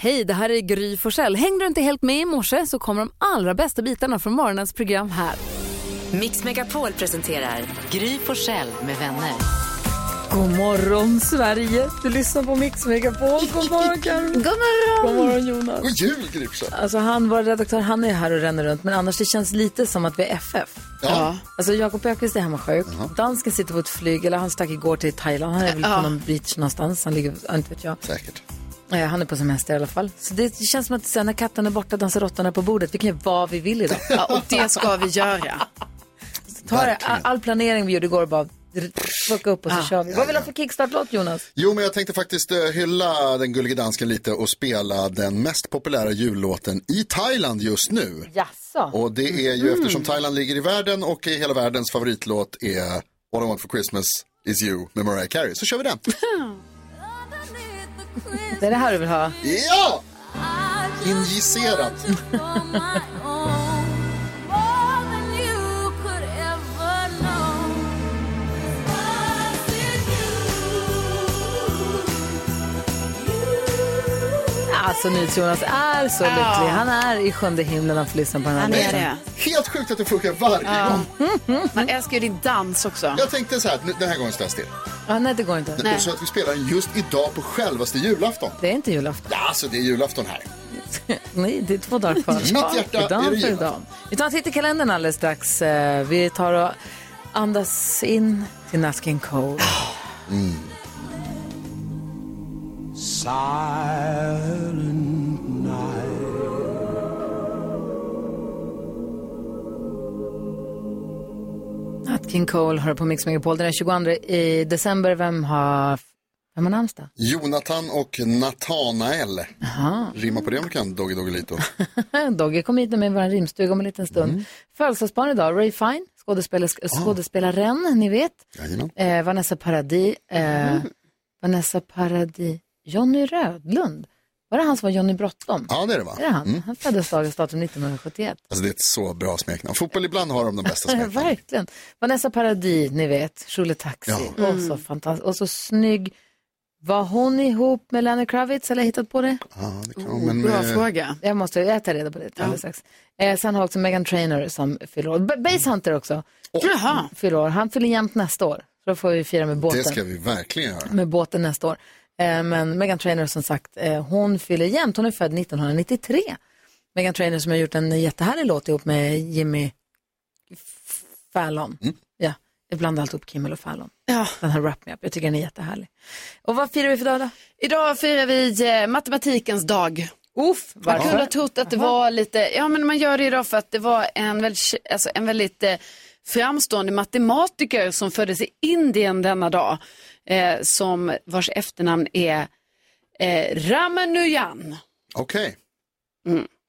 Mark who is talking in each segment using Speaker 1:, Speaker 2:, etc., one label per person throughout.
Speaker 1: Hej, det här är Gry Forssell. Hängde du inte helt med i morse så kommer de allra bästa bitarna från morgonens program här.
Speaker 2: Mix Megapol presenterar Gry Forssell med vänner.
Speaker 1: God morgon Sverige! Du lyssnar på Mix Megapol. God morgon Karin. God morgon! God morgon Jonas.
Speaker 3: God jul, Gripsen!
Speaker 1: Alltså han, vår redaktör, han är här och ränner runt men annars det känns lite som att vi är FF.
Speaker 3: Ja.
Speaker 1: Alltså Jakob Ökvist är hemma sjuk. Dansken sitter på ett flyg, eller han stack igår till Thailand. Han är väl på någon beach någonstans. Han ligger, ja, inte vet jag.
Speaker 3: Säkert.
Speaker 1: Eh, Han är på semester i alla fall. Så det känns som att sen när katten är borta dansar råttorna på bordet. Vi kan göra vad vi vill idag.
Speaker 4: Ja, och det ska vi göra.
Speaker 1: Ta det,
Speaker 3: Verkligen.
Speaker 1: all planering vi gjorde igår bara r- fucka upp och så kör vi. Vad vill du ha för kickstartlåt Jonas?
Speaker 3: Jo, men jag tänkte faktiskt eh, hylla den gullige dansken lite och spela den mest populära jullåten i Thailand just nu.
Speaker 1: Jaså?
Speaker 3: Och det är
Speaker 4: Mm.
Speaker 3: ju eftersom Thailand ligger i världen och i hela världens favoritlåt är All I Want For Christmas Is You med Mariah Carey. Så kör vi den.
Speaker 1: Det är det här du vill ha?
Speaker 3: ja! Injicerat.
Speaker 1: Alltså Jonas är så lycklig. Han är i sjunde himlen när han får lyssna på den här
Speaker 4: Han är
Speaker 1: låten.
Speaker 4: det.
Speaker 3: Helt sjukt att det funkar varje gång.
Speaker 4: Man älskar ju din dans också.
Speaker 3: Jag tänkte så här, nu- den här gången står jag still.
Speaker 1: Ja, nej, det går inte.
Speaker 3: Och så att vi spelar den just idag på självaste julafton.
Speaker 1: Det är inte julafton.
Speaker 3: Ja, alltså det är julafton här.
Speaker 1: Nej, det är två dagar kvar.
Speaker 3: Mitt hjärta
Speaker 1: idag
Speaker 3: är det
Speaker 1: för idag.
Speaker 3: julafton.
Speaker 1: Vi tar en titt i kalendern alldeles strax. Eh, Vi tar och andas in till Nat King Cole. Nat King Cole hör på Mix Megapol den är 22 i december. Vem har, vem har namnsdag?
Speaker 3: Jonathan och Nathanael. Rimma på det om du kan, Doggy Doggelito.
Speaker 1: Eh, Dogge kom hit med vår rimstuga om en liten stund. Födelsedagsbarn idag, Ray Fine, skådespelers- skådespelaren, ni vet.
Speaker 3: Jajamän.
Speaker 1: Eh, Vanessa Paradis. Eh, Vanessa Paradis. Jonny Rödlund. Var det han som var Jonny Bråttom?
Speaker 3: Ja, det är det va?
Speaker 1: Är det han? Han föddes dagens datum 1971.
Speaker 3: Alltså det är ett så bra smeknamn. Fotboll ibland har de de bästa smeknamnen.
Speaker 1: Eh, Verkligen. Vanessa Paradis, ni vet, Shirley Taxi.
Speaker 3: Ja.
Speaker 1: Och så fantastisk. Och så snygg. Var hon ihop med Lenny Kravitz eller har jag hittat på det?
Speaker 3: Ja, det kan de, men,
Speaker 4: Bra
Speaker 3: eh,
Speaker 4: fråga.
Speaker 1: Jag måste jag tar reda på det alldeles strax. Eh, sen har också Megan Trainor som fyller år. B- Base Hunter också
Speaker 4: Jaha.
Speaker 1: fyller år. Han fyller jämnt nästa år. Så då får vi fira med båten.
Speaker 3: det ska vi verkligen göra.
Speaker 1: Med båten nästa år. Eh, men Megan Trainor som sagt, eh, hon fyller jämnt. Hon är född 1993. Megan Trainor som har gjort en jättehärlig låt ihop med Jimmy F- Fallon.
Speaker 3: Mm.
Speaker 1: Ja, jag blandar alltid upp Kimmel och Fallon.
Speaker 4: Ja.
Speaker 1: Den här Wrap Me Up, jag tycker den är jättehärlig. Och vad firar vi för dag då?
Speaker 4: Idag firar vi eh, matematikens dag.
Speaker 1: Uff,
Speaker 4: Man kunde ha
Speaker 1: varför?
Speaker 4: trott att det var lite, ja men man gör det idag för att det var en väldigt, alltså en väldigt eh, framstående matematiker som föddes i Indien denna dag. Eh, som vars efternamn är eh, Ramanujan.
Speaker 3: Okej,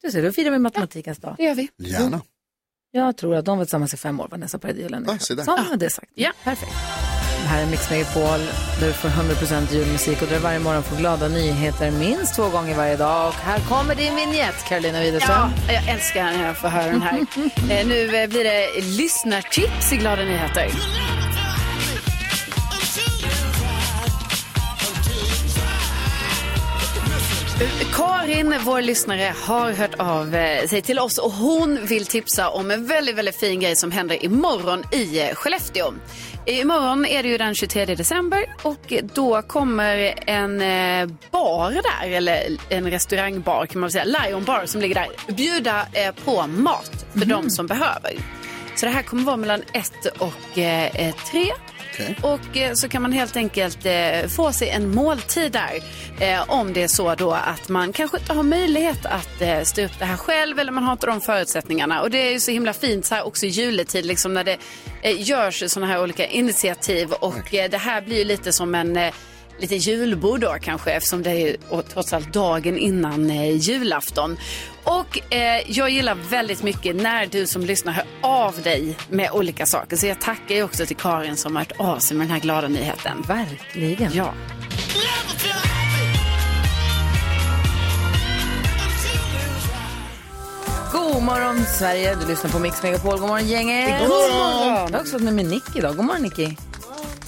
Speaker 1: Du ser, då firar vi matematikens dag.
Speaker 4: Det gör vi.
Speaker 3: gärna.
Speaker 1: Jag tror att de var tillsammans i fem år, Vanessa Paradis och Lenny
Speaker 3: Ah, se där.
Speaker 1: Kravitz. Så har det sagt.
Speaker 4: Ja.
Speaker 1: Perfekt. Det här är Mix Megapol där du får 100% julmusik och där du varje morgon får glada nyheter minst två gånger varje dag. Och här kommer din vignett, Carolina Widerström.
Speaker 4: Ja, jag älskar när jag får höra den här. eh, nu eh, blir det lyssnartips i Glada nyheter. Karin, vår lyssnare, har hört av eh, sig till oss och hon vill tipsa om en väldigt, väldigt fin grej som händer imorgon i eh, Skellefteå. Imorgon är det ju den 23 december och då kommer en eh, bar där, eller en restaurangbar kan man väl säga, Lion Bar som ligger där, bjuda eh, på mat för de som behöver. Så det här kommer vara mellan ett och eh, eh, tre.
Speaker 3: Okej.
Speaker 4: Och eh, så kan man helt enkelt eh, få sig en måltid där. Eh, om det är så då att man kanske inte har möjlighet att eh, stå upp det här själv eller man har inte de förutsättningarna. Och det är ju så himla fint så här också i juletid liksom när det eh, görs sådana här olika initiativ. Och eh, det här blir ju lite som en eh, lite julbord då kanske eftersom det är ju och, trots allt dagen innan eh, julafton. Och eh, jag gillar väldigt mycket när du som lyssnar hör av dig med olika saker. Så jag tackar ju också till Karin som har hört av sig med den här glada nyheten.
Speaker 1: Verkligen.
Speaker 4: Ja.
Speaker 1: God morgon, Sverige. Du lyssnar på Mix Megapol. God morgon, gänget.
Speaker 3: God morgon.
Speaker 1: Jag har också varit med, med Nick idag. God morgon, Nicky.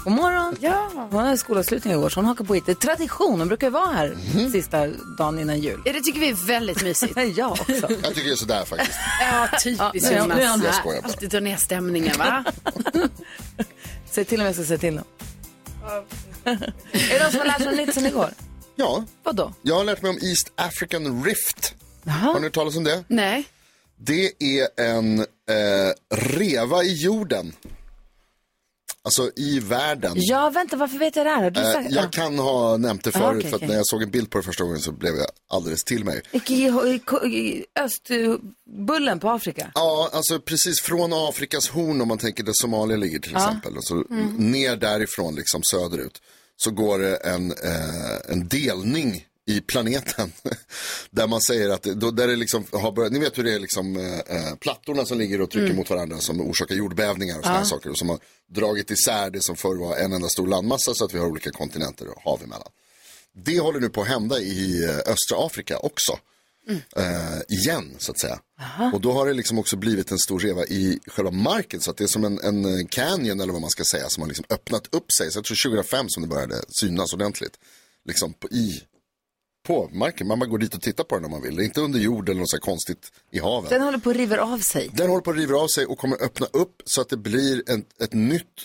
Speaker 1: God morgon. Ja. Hon hade skolavslutning igår så hon hakar på IT. Tradition, hon brukar ju vara här sista dagen innan jul.
Speaker 4: Det tycker vi är väldigt mysigt.
Speaker 1: Jag också.
Speaker 3: Jag tycker det är sådär faktiskt.
Speaker 4: Ja, typiskt
Speaker 1: Ja, nu är han- nu är han
Speaker 4: Jonas.
Speaker 1: här.
Speaker 3: Jag skojar bara.
Speaker 4: Alltid drar ner stämningen, va?
Speaker 1: Säg till om jag ska säga till dem. är det någon som har lärt sig något nytt sen igår?
Speaker 3: Ja,
Speaker 1: Vadå?
Speaker 3: jag har lärt mig om East African Rift. Har ni
Speaker 1: Jaha.
Speaker 3: hört talas om det?
Speaker 4: Nej.
Speaker 3: Det är en eh, reva i jorden. Alltså i världen.
Speaker 1: Ja, vänta, varför vet jag det här? Har du
Speaker 3: Eh,
Speaker 1: sagt
Speaker 3: Jag kan ha nämnt det förut
Speaker 1: okej,
Speaker 3: för att
Speaker 1: okej.
Speaker 3: när jag såg en bild på det första gången så blev jag alldeles till mig.
Speaker 1: I, i, i, i östbullen på Afrika?
Speaker 3: Ja, alltså precis från Afrikas horn om man tänker där Somalia ligger till exempel. Och så ner därifrån liksom söderut. Så går det en, eh, en delning i planeten. där man säger att, det- då, där det liksom har börjat, ni vet hur det är liksom eh, eh, plattorna som ligger och trycker mot varandra som orsakar jordbävningar och sådana här saker. Och som har dragit isär det som förr var en enda stor landmassa så att vi har olika kontinenter och hav emellan. Det håller nu på att hända i eh, östra Afrika också
Speaker 4: Mm.
Speaker 3: eh, igen så att säga. Och då har det liksom också blivit en stor reva i själva marken så att det är som en, en eh, canyon eller vad man ska säga som har liksom öppnat upp sig. Så jag tror 2005 som det började synas ordentligt. Liksom på, i, på marken, man bara går dit och tittar på den om man vill. Det är inte under jord eller något så här konstigt i havet.
Speaker 1: Den håller på att river av sig.
Speaker 3: Den håller på att riva av sig och kommer öppna upp så att det blir en, ett nytt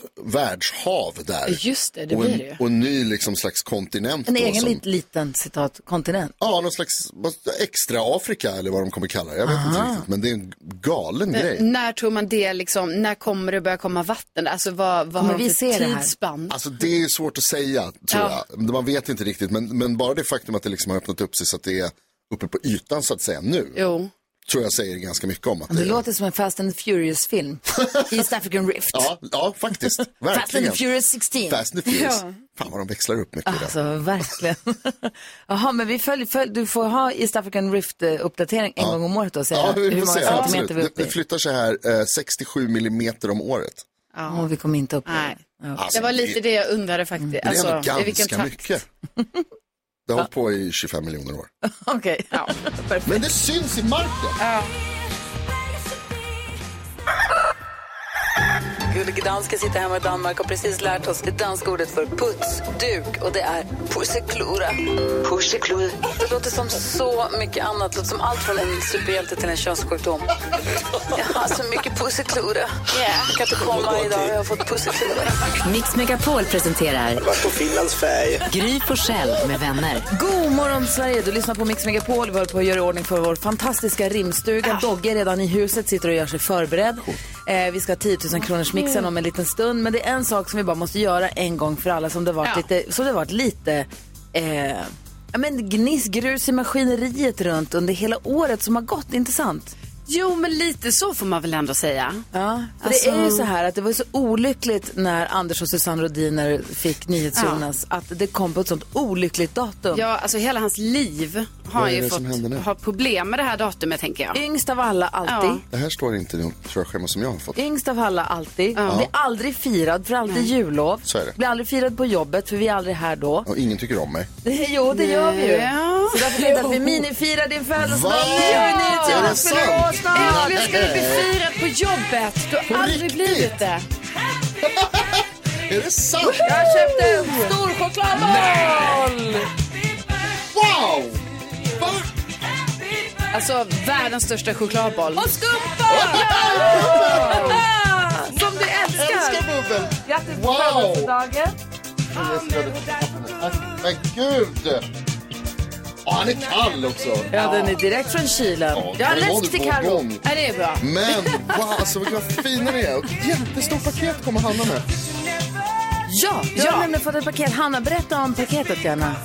Speaker 3: världshav där.
Speaker 4: Just det, det
Speaker 3: och,
Speaker 4: blir det ju.
Speaker 3: en, och en ny liksom slags kontinent.
Speaker 1: En
Speaker 3: då
Speaker 1: egen
Speaker 3: som-
Speaker 1: lit- liten citat, kontinent.
Speaker 3: Ja, någon slags vad- extra Afrika eller vad de kommer kalla det. Jag vet inte riktigt, men det är en galen grej.
Speaker 4: När tror man det liksom, när kommer det börja komma vatten? Alltså vad, vad
Speaker 1: Kommer
Speaker 4: har de
Speaker 1: vi
Speaker 4: för
Speaker 1: se det här?
Speaker 4: tidsspann?
Speaker 3: Alltså det är svårt att säga, tror
Speaker 4: Ja.
Speaker 3: jag. Man vet inte riktigt, men, men bara det faktum att det liksom har öppnat upp sig så att det är uppe på ytan så att säga nu,
Speaker 4: Jo.
Speaker 3: tror jag säger ganska mycket om att det
Speaker 1: Det
Speaker 3: är...
Speaker 1: låter som en Fast and Furious-film. East African Rift.
Speaker 3: Ja, ja, faktiskt.
Speaker 1: Fast and
Speaker 3: Verkligen.
Speaker 1: Furious 16.
Speaker 3: Fast and the Furious.
Speaker 4: Ja.
Speaker 3: Fan vad de växlar upp mycket där.
Speaker 1: Alltså verkligen. Jaha, men vi följ, följ, du får ha East African Rift-uppdatering en gång om året då, och säga
Speaker 3: Ja, vi
Speaker 1: hur
Speaker 3: får
Speaker 1: många
Speaker 3: se.
Speaker 1: centimeter
Speaker 3: Absolut.
Speaker 1: vi är
Speaker 3: Det,
Speaker 1: uppe
Speaker 3: det
Speaker 1: i.
Speaker 3: flyttar sig här eh, 67 millimeter om året.
Speaker 1: Åh, vi kommer inte upp i
Speaker 4: Nej.
Speaker 1: det. Ja.
Speaker 3: Alltså,
Speaker 4: det var lite det jag undrade faktiskt. Alltså,
Speaker 3: Det är ändå
Speaker 4: i vilken
Speaker 3: ganska
Speaker 4: takt?
Speaker 3: mycket. Det har hållit på i 25 miljoner år.
Speaker 1: Okej.
Speaker 4: Ja.
Speaker 3: Men det syns i marken!
Speaker 2: Gullige danska sitter hemma i Danmark och precis lärt oss det danska ordet för putsduk och det är pusseklura. Pusseklud. Det låter som så mycket annat. Det låter som allt från en superhjälte till en könssjukdom. Jag har så mycket pusseklura. Jag kan inte komma idag. Jag har fått pusseklura.
Speaker 5: Mix Megapol presenterar
Speaker 6: varit på Finlands färg.
Speaker 5: Gry Forssell med vänner.
Speaker 1: God morgon Sverige, du lyssnar på Mix Megapol. Vi håller på att göra i ordning för vår fantastiska rimstuga. Dogge är redan i huset, sitter och gör sig förberedd. Eh, vi ska ha 10 000 kronors mixen om en liten stund. Men det är en sak som vi bara måste göra en gång för alla som det varit
Speaker 4: Ja.
Speaker 1: lite, som det varit lite eh, ja, men gniss, grus i maskineriet runt under hela året som har gått. Inte sant?
Speaker 4: Jo, men lite så får man väl ändå säga.
Speaker 1: Ja, för
Speaker 4: Alltså-
Speaker 1: det är ju så här att det var ju så olyckligt när Anders och Susanne Rodiner fick NyhetsJonas att det kom på ett sånt olyckligt datum.
Speaker 4: Ja, alltså hela hans liv har
Speaker 3: Vad är
Speaker 4: ju
Speaker 3: det som händer
Speaker 4: fått
Speaker 3: nu?
Speaker 4: ha problem med det här datumet tänker jag.
Speaker 1: Yngst av alla, alltid.
Speaker 4: Ja.
Speaker 3: Det här står inte i de körschema som jag har fått.
Speaker 1: Yngst av alla alltid. Blir aldrig firad för alltid jullov.
Speaker 3: Så är det.
Speaker 1: Blir aldrig firad på jobbet för vi är aldrig här då.
Speaker 3: Och ingen tycker om mig.
Speaker 1: jo, det gör vi ju.
Speaker 4: Ja.
Speaker 1: Så därför tänkte jag att vi minifirar din
Speaker 3: Va?
Speaker 1: födelsedag nu. Alltså, Ni
Speaker 3: Är
Speaker 1: är till
Speaker 3: det
Speaker 1: fyller år
Speaker 3: sant?
Speaker 1: snart.
Speaker 4: Äntligen ska du bli firad på jobbet. Du
Speaker 3: På
Speaker 4: har aldrig
Speaker 3: riktigt?
Speaker 4: blivit det.
Speaker 3: Är det sant?
Speaker 1: Jag köpte en stor chokladboll.
Speaker 3: Wow! Va?
Speaker 4: Alltså världens största chokladboll.
Speaker 1: Och skumpa! Som du
Speaker 3: Älskar
Speaker 1: älskar.
Speaker 3: bubbel!
Speaker 1: Grattis på
Speaker 3: Wow.
Speaker 1: födelsedagen.
Speaker 3: Tack, Men gud! Ja, han är kall också.
Speaker 1: Ja, den är direkt från kylen.
Speaker 3: Ja,
Speaker 1: Jag har
Speaker 3: det var
Speaker 1: läsk
Speaker 3: det
Speaker 1: till
Speaker 3: på
Speaker 1: Carro.
Speaker 3: gång.
Speaker 4: Ja, det är bra.
Speaker 3: Men wow, alltså vad fina ni är. Och ett jättestort paket kommer Hanna med.
Speaker 1: Ja, jag har nämligen fått ett paket. Hanna, berätta om paketet gärna.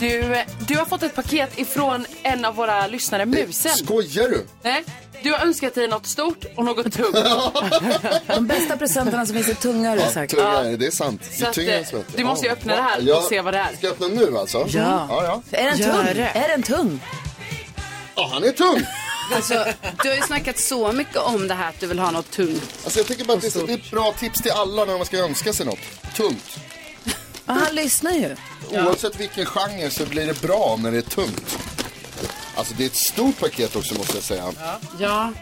Speaker 7: Du, du har fått ett paket ifrån en av våra lyssnare, Musen.
Speaker 3: Skojar du?
Speaker 7: Nej, du har önskat dig något stort och något tungt.
Speaker 1: De bästa presenterna som finns är tunga har du sagt.
Speaker 3: Tunga är det, det är sant.
Speaker 7: Så att, eh,
Speaker 3: svett.
Speaker 7: du måste ju
Speaker 3: Ja,
Speaker 7: öppna
Speaker 3: va?
Speaker 7: det här och
Speaker 3: Ja,
Speaker 7: se vad det är.
Speaker 3: Ska jag öppna nu alltså?
Speaker 1: Ja.
Speaker 3: Ja, ja.
Speaker 1: Är den
Speaker 4: Gör
Speaker 1: tung?
Speaker 4: det.
Speaker 1: Är den tung?
Speaker 3: ja han är tung.
Speaker 4: Alltså, du har ju snackat så mycket om det här att du vill ha något tungt.
Speaker 3: Alltså, jag tycker bara att det är det är ett bra tips till alla när man ska önska sig något. Tungt.
Speaker 1: Ja, han lyssnar ju.
Speaker 3: Oavsett vilken genre så blir det bra när det är tungt. Alltså det är ett stort paket också måste jag säga.
Speaker 4: Ja.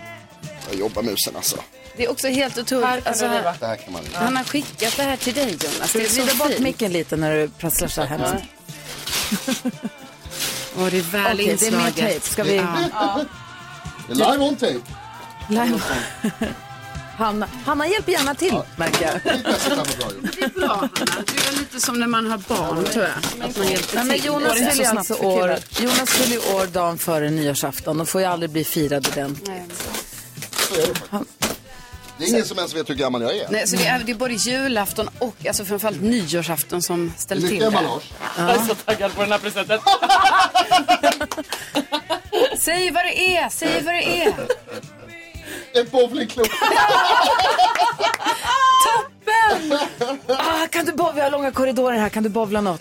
Speaker 3: Jag jobbar musen alltså.
Speaker 4: Det är också helt
Speaker 7: Här
Speaker 4: otroligt.
Speaker 7: kan
Speaker 4: Alltså,
Speaker 7: du riva.
Speaker 3: Det här kan man inte.
Speaker 4: han har skickat det här till dig Jonas. Det
Speaker 1: Ska vi
Speaker 4: är
Speaker 1: vrida
Speaker 4: så
Speaker 1: bort
Speaker 4: fint.
Speaker 1: micken lite när du prasslar så här hemskt?
Speaker 4: Och det är väl
Speaker 1: Okej, det är mer
Speaker 4: inslaget.
Speaker 1: tejp. Ska vi...
Speaker 3: Det är Live on tape.
Speaker 1: Live. Hanna, Hanna hjälper gärna till, märker jag.
Speaker 3: Sånt här var bra gjort.
Speaker 4: Det är bra Hanna. Du är lite som när man har barn tror jag. Att man hjälper
Speaker 1: Nej, men
Speaker 4: till.
Speaker 1: Jonas
Speaker 4: Det är så
Speaker 1: fyller ju
Speaker 4: snabbt
Speaker 1: alltså
Speaker 4: för killar.
Speaker 1: år, Jonas fyller ju år dagen före nyårsafton och får ju aldrig bli firad ordentligt.
Speaker 3: Det är ingen som ens vet hur gammal jag är.
Speaker 4: Nej, så det är, det är både julafton och alltså framförallt nyårsafton som ställer till
Speaker 3: Lycka
Speaker 4: det.
Speaker 3: man Lars.
Speaker 7: Jag är så taggad på den här presenten.
Speaker 4: Säg vad det är, säg vad det är.
Speaker 3: En bowlingklubba.
Speaker 1: Ah, kan du bo- vi har långa korridorer här, kan du bovla något?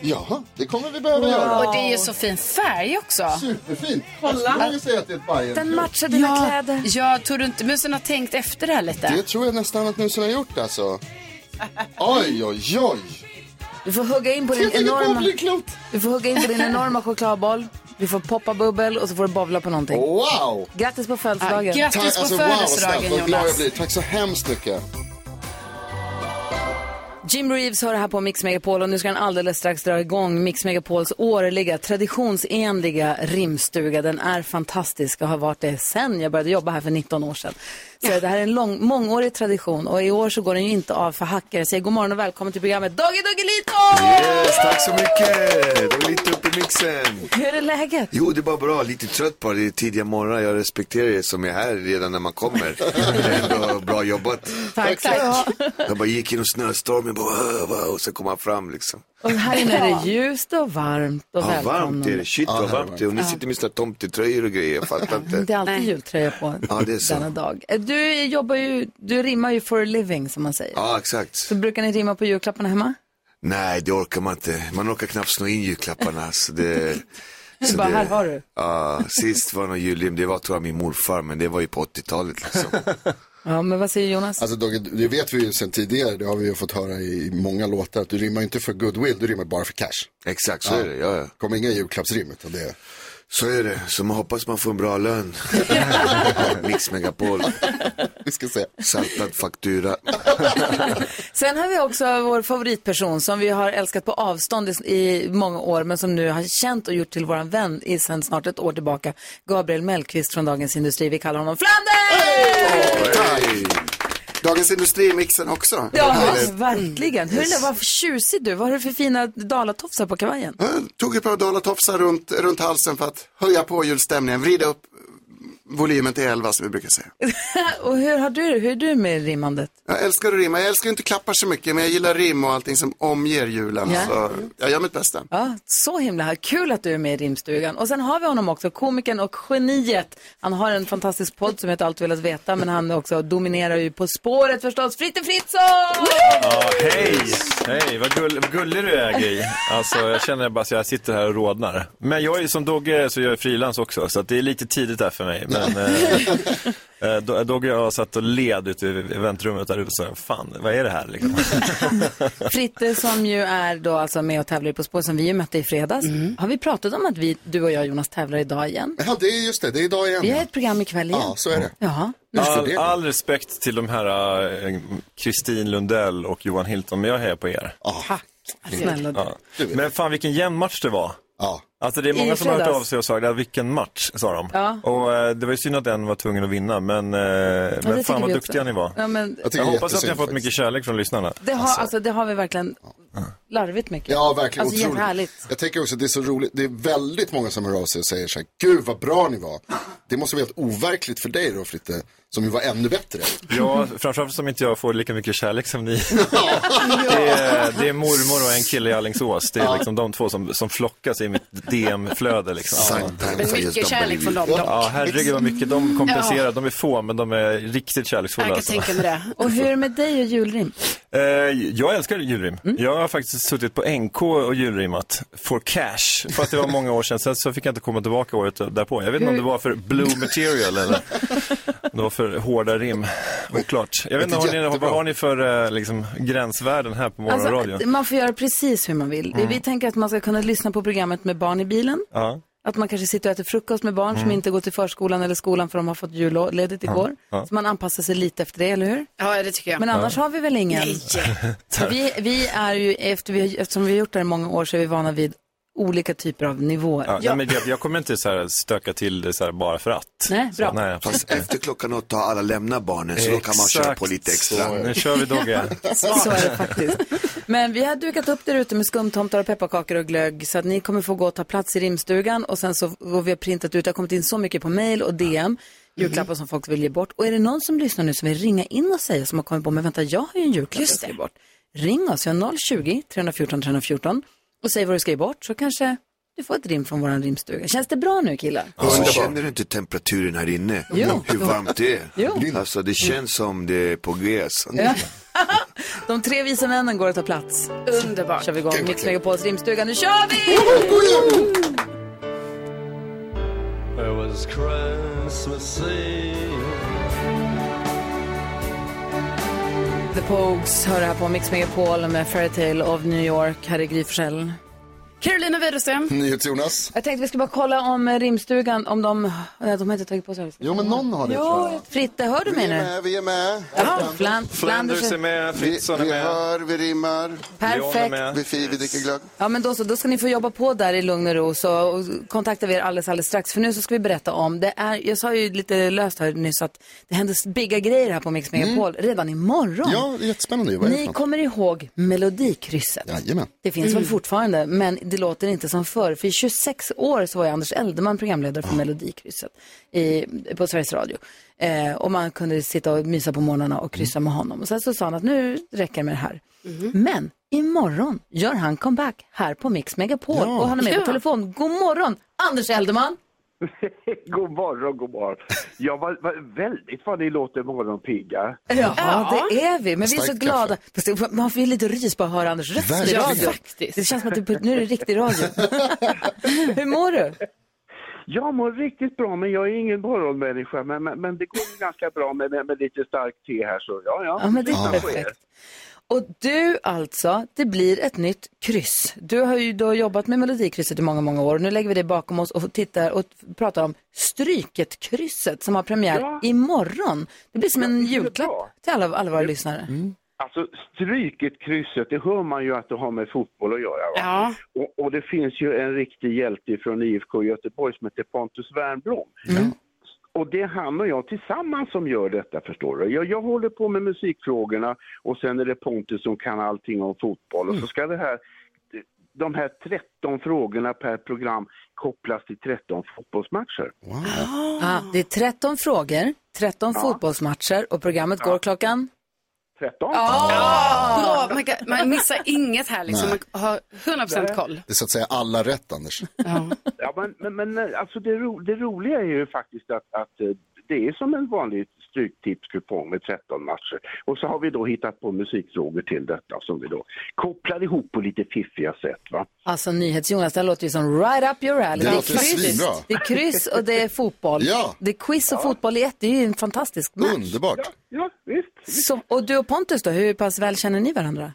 Speaker 3: Ja, det kommer vi behöva göra.
Speaker 4: Och det är ju så fin färg också.
Speaker 3: Superfint. Jag skulle vilja säga att det är ett
Speaker 1: Den
Speaker 3: Bajen.
Speaker 1: matchar dina kläder.
Speaker 4: Ja, tror du inte musen har tänkt efter det här lite?
Speaker 3: Det tror jag nästan att musen har gjort alltså. Oj, oj, oj.
Speaker 1: Du får hugga in på din
Speaker 3: Vilket
Speaker 1: enorma,
Speaker 3: bowlingklot.
Speaker 1: du får hugga in på din enorma chokladboll, vi får poppa bubbel och så får du bovla på någonting.
Speaker 3: Wow.
Speaker 1: Grattis på
Speaker 4: Ja,
Speaker 1: födelsedagen.
Speaker 4: grattis på
Speaker 3: alltså, wow, snällt.
Speaker 4: födelsedagen
Speaker 3: Vad glad jag
Speaker 4: Jonas.
Speaker 3: blir. Tack så hemskt mycket.
Speaker 1: Jim Reeves hör det här på Mix Megapol och nu ska han alldeles strax dra igång Mix Megapols årliga traditionsenliga rimstuga. Den är fantastisk och har varit det sedan jag började jobba här för 19 år sedan. Så det här är en lång, mångårig tradition och i år så går den ju inte av för hackare. Jag säger god morgon och välkommen till programmet Doggy Doggelito!
Speaker 6: Yes, tack så mycket! Det var lite upp i mixen.
Speaker 1: Hur är läget?
Speaker 6: Jo, det var bra. Lite trött på det tidiga morgon. Jag respekterar er som är här redan när man kommer. Det är ändå bra jobbat.
Speaker 1: Tack, tack.
Speaker 6: Jag bara gick genom snöstormen bara, "Åh, vad?" och så kom han fram liksom.
Speaker 1: Och här inne är det ljust och varmt och
Speaker 6: Ja, varmt är
Speaker 1: välkomnande.
Speaker 6: det. Shit vad varmt det är. Och ni sitter med såna tomtetröjor och grejer. Jag fattar
Speaker 1: Det
Speaker 6: inte.
Speaker 1: är alltid jultröja på
Speaker 6: Ja, det är så.
Speaker 1: denna dag. Eh, Du jobbar ju, du rimmar ju for a living som man säger.
Speaker 6: Ja, exakt.
Speaker 1: Så brukar ni rimma på julklapparna hemma?
Speaker 6: Nej, det orkar man inte. Man orkar knappt snå in julklapparna. Så det... Så
Speaker 1: bara, "Här har du."
Speaker 6: Ja, sist var någon jullim, det var tror jag min morfar, men det var ju på 80-talet liksom.
Speaker 1: Ja, men vad säger Jonas?
Speaker 3: Alltså Dogge, det vet vi ju sedan tidigare, det har vi ju fått höra i många låtar, att du rimmar ju inte för goodwill, du rimmar bara för cash.
Speaker 6: Exakt, så är det. Ja, ja.
Speaker 3: kommer inga julklappsrim utan det är...
Speaker 6: Så är det, så man hoppas man får en bra lön. Mix Megapol,
Speaker 3: Vi ska se.
Speaker 6: saltad faktura.
Speaker 1: Sen har vi också vår favoritperson som vi har älskat på avstånd i- i många år men som nu har känt och gjort till våran vän i sen snart ett år tillbaka. Gabriel Mellqvist från Dagens Industri. Vi kallar honom Flanders!
Speaker 6: Hej!
Speaker 8: Dagens Industri-mixen också.
Speaker 1: Ja, verkligen. Hur är det, vad tjusig du Vad har du för fina dalatofsar på kavajen?
Speaker 8: Jag tog ett par dalatofsar runt, runt halsen för att höja på julstämningen, vrida upp volymen till 11 som vi brukar säga.
Speaker 1: och hur, har du, hur är du med rimmandet?
Speaker 8: Jag älskar att rimma, jag älskar inte klappar så mycket men jag gillar rim och allting som omger julen.
Speaker 1: Ja.
Speaker 8: Så jag gör mitt bästa.
Speaker 1: Ja, så himla här. kul att du är med i rimstugan. Och sen har vi honom också, komikern och geniet. Han har en fantastisk podd som heter Allt du velat veta, men han också dominerar ju På spåret förstås. Fritte Fritzson!
Speaker 9: Ja, hej! Hej, vad, gull, vad gullig du är Gry. Alltså jag känner bara att jag sitter här och rodnar. Men jag är ju som Dogge så jag är frilans också, så att det är lite tidigt där för mig. Men eh, eh, Do- Dogge och jag satt och led ute i eventrummet där ute och sa, fan vad är det här liksom?
Speaker 1: Fritte som ju är då alltså med och tävlar i På spåret som vi ju mötte i fredags. Har vi pratat om att vi, du och jag Jonas tävlar idag igen?
Speaker 3: Ja, det är just det, det är idag igen.
Speaker 1: Vi har ett program ikväll igen.
Speaker 3: Ja, så är det.
Speaker 1: Ja.
Speaker 9: All, all respekt till de här eh, Kristin Lundell och Johan Hilton, men jag hejar på er.
Speaker 1: Snälla du.
Speaker 9: Ja. Men fan vilken jämn match det var.
Speaker 3: Ja.
Speaker 9: Alltså det är många
Speaker 1: I
Speaker 9: som har hört
Speaker 1: fredags.
Speaker 9: av sig och sagt, "Ja, vilken match, sa de.
Speaker 1: Ja.
Speaker 9: Och eh, det var ju synd att en var tvungen att vinna, men, eh, men
Speaker 1: tycker
Speaker 9: fan vad
Speaker 1: vi också.
Speaker 9: duktiga ni var.
Speaker 1: Ja, men
Speaker 3: Jag, tycker
Speaker 9: Jag
Speaker 3: det är
Speaker 9: hoppas att ni har
Speaker 3: jättesynd
Speaker 9: fått mycket
Speaker 3: faktiskt.
Speaker 9: kärlek från lyssnarna.
Speaker 1: det, har, alltså, det har vi verkligen larvigt mycket.
Speaker 3: Ja, verkligen.
Speaker 1: Alltså
Speaker 3: otroligt.
Speaker 1: jättehärligt.
Speaker 3: Jag tänker också att det är så roligt. Det är väldigt många som hör av sig och säger så här, gud vad bra ni var. Det måste vara helt overkligt för dig då Fritte, som ju var ännu bättre.
Speaker 9: Ja, framförallt som inte jag får lika mycket kärlek som ni. Det är, det är mormor och en kille i Alingsås. Det är liksom de två som, som flockas i mitt DM-flöde. Liksom.
Speaker 4: Det är mycket kärlek från dem dock.
Speaker 9: Ja, herregud vad mycket de kompenserar. De är få, men de är riktigt kärleksfulla.
Speaker 4: Jag kan
Speaker 9: alltså.
Speaker 4: tänka mig det.
Speaker 1: Och hur är det med dig och julrim?
Speaker 9: Eh, jag älskar julrim.
Speaker 6: Mm.
Speaker 9: Jag har faktiskt suttit på NK och julrimmat for cash. För att det var många år sedan, sen så fick jag inte komma tillbaka året därpå. Jag vet inte om det var för blue material eller om det var för hårda rim. Oklart. Jag vet inte, har ni,
Speaker 3: Jättebra.
Speaker 9: vad har ni för eh, liksom, gränsvärden här på
Speaker 6: Alltså, eh,
Speaker 9: morgonradion?
Speaker 1: Mm. Alltså, man får göra precis hur man vill. Vi tänker att man ska kunna lyssna på programmet med barn i bilen.
Speaker 9: Ja.
Speaker 1: Att man kanske sitter och äter frukost med barn som inte går till förskolan eller skolan för de har fått julledigt igår.
Speaker 9: ja.
Speaker 1: Så man anpassar sig lite efter det, eller hur?
Speaker 4: Ja, det tycker jag.
Speaker 1: Men annars har vi väl ingen?
Speaker 4: Nej.
Speaker 1: Så vi, vi är ju, efter vi, eftersom vi har gjort det här i många år så är vi vana vid olika typer av nivåer.
Speaker 9: Ja, Nej, men jag, jag kommer inte så här stöka till det så här bara för att.
Speaker 1: Nej, bra.
Speaker 9: Så, nej,
Speaker 6: Fast efter klockan åtta har alla lämnat barnen så då kan man köra
Speaker 9: Exakt
Speaker 6: på lite
Speaker 9: så.
Speaker 6: extra.
Speaker 9: Nu kör vi Dogge.
Speaker 1: Så är det faktiskt. Men vi har dukat upp där ute med skumtomtar och pepparkakor och glögg så att ni kommer få gå och ta plats i rimstugan och sen så går vi har printat ut, det har kommit in så mycket på mail och DM, julklappar som folk vill ge bort. Och är det någon som lyssnar nu som vill ringa in och säga som har kommit på, men vänta jag har ju en julklapp jag ska ge bort. Ring oss, vi har 020 314 314 och säg vad du ska ge bort så kanske du får ett rim från våran rimstuga. Känns det bra nu killar?
Speaker 6: Alltså, känner du inte temperaturen här inne?
Speaker 1: Jo.
Speaker 6: Hur varmt det är?
Speaker 1: Jo.
Speaker 6: Alltså det känns som det är på G. alltså. så.
Speaker 1: De tre visa männen går att ta plats.
Speaker 4: Underbart.
Speaker 1: kör vi igång Mix Megapols rimstuga, nu kör vi! The Pogues hör här på Mix Megapol med Fairytale of New York. Här är Gry Forssell.
Speaker 4: Carolina Widerström.
Speaker 3: NyhetsJonas.
Speaker 1: Jag tänkte vi skulle bara kolla om eh, rimstugan, om de... Nej, de har inte tagit på sig
Speaker 3: Jo, men någon har det tror jag.
Speaker 1: Fritte, hör du
Speaker 8: Vi
Speaker 1: mig
Speaker 8: är
Speaker 1: nu?
Speaker 8: med, vi är med.
Speaker 1: Ja, Flan-
Speaker 9: Flanders är med,
Speaker 8: Vi,
Speaker 9: Fritzson är
Speaker 8: vi
Speaker 9: med,
Speaker 8: hör, vi rimmar,
Speaker 9: Leon är
Speaker 1: Perfekt.
Speaker 9: med.
Speaker 8: vi fi, vi dricker glögg.
Speaker 1: Ja, men då så. Då ska ni få jobba på där i lugn och ro. Så och kontaktar vi er alldeles, alldeles strax. För nu så ska vi berätta om, det är, jag sa ju lite löst här nyss att det händer bigga grejer här på Mix
Speaker 9: Mm.
Speaker 1: Megapol redan imorgon.
Speaker 3: Ja, det är jättespännande ju. Vad är det
Speaker 1: Ni
Speaker 3: för något?
Speaker 1: kommer ihåg Melodikrysset.
Speaker 3: Jajamän.
Speaker 1: Det finns väl fortfarande, men det låter inte som förr. För i 26 år så var ju Anders Eldeman programledare för
Speaker 3: Ah.
Speaker 1: Melodikrysset i, på Sveriges Radio. Eh, och man kunde sitta och mysa på morgnarna och kryssa
Speaker 3: Mm.
Speaker 1: med honom. Och sen så sa han att nu räcker det med det här. Men imorgon gör han comeback här på Mix Megapol. Och han är med på telefon. God morgon, Anders Eldeman!
Speaker 10: God morgon, god morgon. Ja, vad, vad, väldigt vad ni låter morgonpigga.
Speaker 1: Ja, det är vi. Men vi är så
Speaker 3: Starkt
Speaker 1: glada. Fast det- man får ju lite rys bara att höra Anders röst i
Speaker 3: Verkligen.
Speaker 1: radio.
Speaker 3: Ja,
Speaker 1: Det känns som att det, nu är det riktig radio. Hur mår du?
Speaker 10: Jag mår riktigt bra, men jag är ingen morgonmänniska. Men, men, men det går ju ganska bra med, med, med lite starkt te här, så ja, ja.
Speaker 1: Ja, men det är
Speaker 10: Lyssna på er.
Speaker 1: perfekt. Och du alltså, det blir ett nytt kryss. Du har ju då jobbat med Melodikrysset i många, många år. Nu lägger vi det bakom oss och tittar och pratar om Stryket-krysset som har premiär
Speaker 10: Ja.
Speaker 1: imorgon. Det blir som en
Speaker 10: bra.
Speaker 1: julklapp till alla, alla våra lyssnare.
Speaker 10: Alltså, stryket krysset, det hör man ju att det har med fotboll att göra. Va?
Speaker 4: Ja.
Speaker 10: Och, och det finns ju en riktig hjälte från IFK Göteborg som heter Pontus Wernbloom. Och det är han och jag tillsammans som gör detta förstår du. Jag, jag håller på med musikfrågorna och sen är det Pontus som kan allting om fotboll. Och så ska det här, de här 13 frågorna per program kopplas till 13 fotbollsmatcher.
Speaker 1: Ah, det är 13 frågor, 13 fotbollsmatcher och programmet går klockan?
Speaker 10: 13?
Speaker 4: Bra, man, kan, man missar inget här liksom. Man har 100% koll.
Speaker 3: Det är så att säga alla rätt, Anders.
Speaker 10: Ja, men, men, men alltså det, ro, det roliga är ju faktiskt att, att eh, det är som en vanlig stryktipskupong med 13 matcher. Och så har vi då hittat på musikfrågor till detta som vi då kopplar ihop på lite fiffiga sätt. Va?
Speaker 1: Alltså NyhetsJonas, det här låter ju som right up your alley.
Speaker 3: Det
Speaker 1: är
Speaker 3: låter
Speaker 1: kryss,
Speaker 3: svinbra.
Speaker 1: det är kryss och det är fotboll.
Speaker 3: Ja.
Speaker 1: Det är quiz och fotboll i ett, det är ju en fantastisk match.
Speaker 3: Underbart.
Speaker 10: Ja, visst.
Speaker 1: Så, och du och Pontus då, hur pass väl känner ni varandra?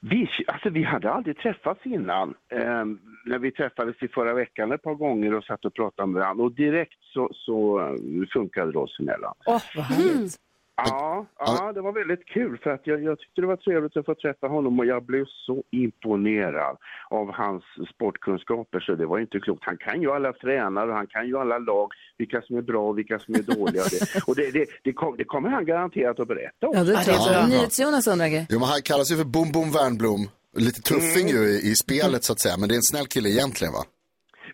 Speaker 10: Vi, alltså, vi hade aldrig träffats innan. Ehm, när vi träffades i förra veckan ett par gånger och satt och pratade med varandra och direkt så, så eh, funkade det oss emellan.
Speaker 1: Åh, vad härligt.
Speaker 10: Ja, ja, det var väldigt kul för att jag, jag tyckte det var trevligt att få träffa honom och jag blev så imponerad av hans sportkunskaper så det var inte klokt. Han kan ju alla tränare och han kan ju alla lag, vilka som är bra och vilka som är dåliga. Och det, och det, det, det, kom, det kommer han garanterat att berätta om.
Speaker 1: Ja, det
Speaker 4: Ja,
Speaker 1: är
Speaker 4: det är
Speaker 1: klart.
Speaker 4: bra.
Speaker 1: NyhetsJonas undrar grejer.
Speaker 3: Jo, men han kallas ju för Boom Boom Wernbloom. Lite tuffing ju i, i spelet så att säga, men det är en snäll kille egentligen va?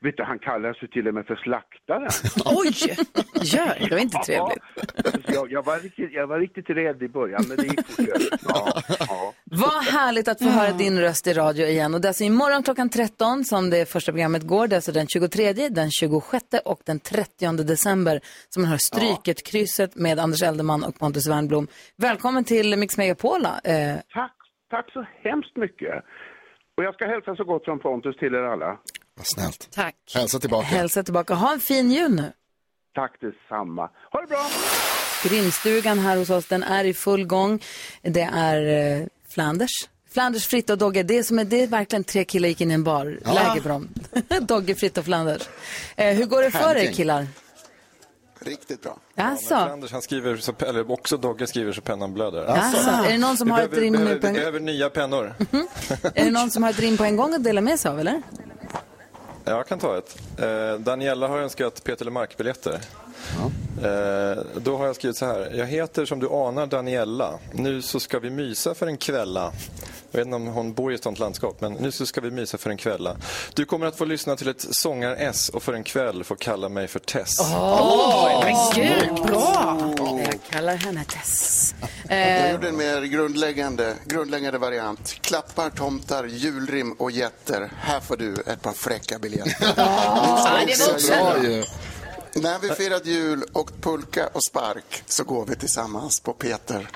Speaker 10: Vet du, han kallas ju till och med för slaktaren.
Speaker 4: Oj, gör.
Speaker 1: Det var inte trevligt.
Speaker 10: Ja, jag, jag, var riktigt, jag var riktigt rädd i början men det gick fort över. ja, ja.
Speaker 1: Vad härligt att få höra din röst i radio igen. Och det är alltså imorgon klockan 13 som det första programmet går. Det är alltså den 23, den 26 och den 30 december som man hör Stryket, krysset med Anders Eldeman och Pontus Wernbloom. Välkommen till Mix Megapola. Eh,
Speaker 10: Tack, tack så hemskt mycket. Och jag ska hälsa så gott från Pontus till er alla.
Speaker 3: Vad snällt.
Speaker 4: Tack.
Speaker 3: Hälsa tillbaka.
Speaker 1: hälsa tillbaka. Ha en fin jul nu.
Speaker 10: Tack detsamma. Ha det bra!
Speaker 1: Grimstugan här hos oss, den är i full gång. Det är eh, Flanders. Flanders, Fritte och Dogge, det är, som är, det är verkligen tre killar gick in i en bar,
Speaker 2: Ja.
Speaker 1: läger på dem. Dogge, Fritte och Flanders. Eh, hur går det för er
Speaker 11: Härligt.
Speaker 1: killar?
Speaker 11: Riktigt bra.
Speaker 1: Alltså,
Speaker 11: Anders han skriver, så, eller också Dogge skriver så pennan blöder.
Speaker 1: Alltså, är det någon som
Speaker 11: Vi
Speaker 1: har ett
Speaker 11: behöver,
Speaker 1: rim nu
Speaker 11: behöver,
Speaker 1: på en-
Speaker 11: Vi behöver nya pennor.
Speaker 1: är det någon som har ett rim på en gång att dela med sig av eller?
Speaker 11: Jag kan ta ett. Eh, Daniela har önskat Peter Lemark-biljetter. Eh, då har jag skrivit så här. Jag heter som du anar Daniela. Nu så ska vi mysa för en kvälla. Jag vet inte om hon bor i ett sånt landskap, men nu så ska vi mysa för en kvälla. Du kommer att få lyssna till ett sångar-S och för en kväll få kalla mig för Tess.
Speaker 4: bra!
Speaker 1: Jag kallar henne Tess.
Speaker 8: Jag gjorde en mer grundläggande, grundläggande variant. Klappar, tomtar, julrim och jätter. Här får du ett par fräcka biljetter.
Speaker 2: Ja, det var också bra.
Speaker 8: När vi firat jul och pulka och spark så går vi tillsammans på Peter.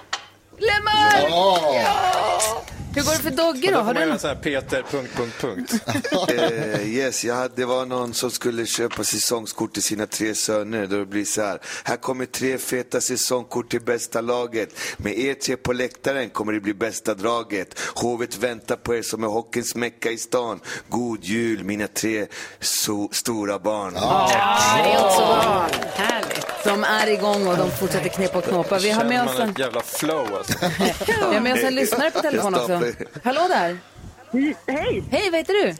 Speaker 1: Lemmark!
Speaker 8: Ja!
Speaker 1: Hur går det för Dogge
Speaker 11: Men då
Speaker 1: då?
Speaker 11: får man
Speaker 1: Har du
Speaker 11: göra
Speaker 1: något?
Speaker 11: så här Peter... Punkt, punkt, punkt.
Speaker 6: Eh, yes, jag hade, det var någon som skulle köpa säsongskort till sina tre söner. Då det blir så här. Här kommer tre feta säsongkort till bästa laget. Med er tre på läktaren kommer det bli bästa draget. Hovet väntar på er som är hockeyns mecka i stan. God jul mina tre so- stora barn.
Speaker 1: det är också bra.
Speaker 4: Härligt.
Speaker 1: De är igång och de fortsätter knepa och knåpa. Vi har med oss en,
Speaker 11: ett jävla flow alltså.
Speaker 1: vi har med oss en lyssnare på telefon också. Hallå där!
Speaker 12: Hej!
Speaker 1: Hej, vad heter du?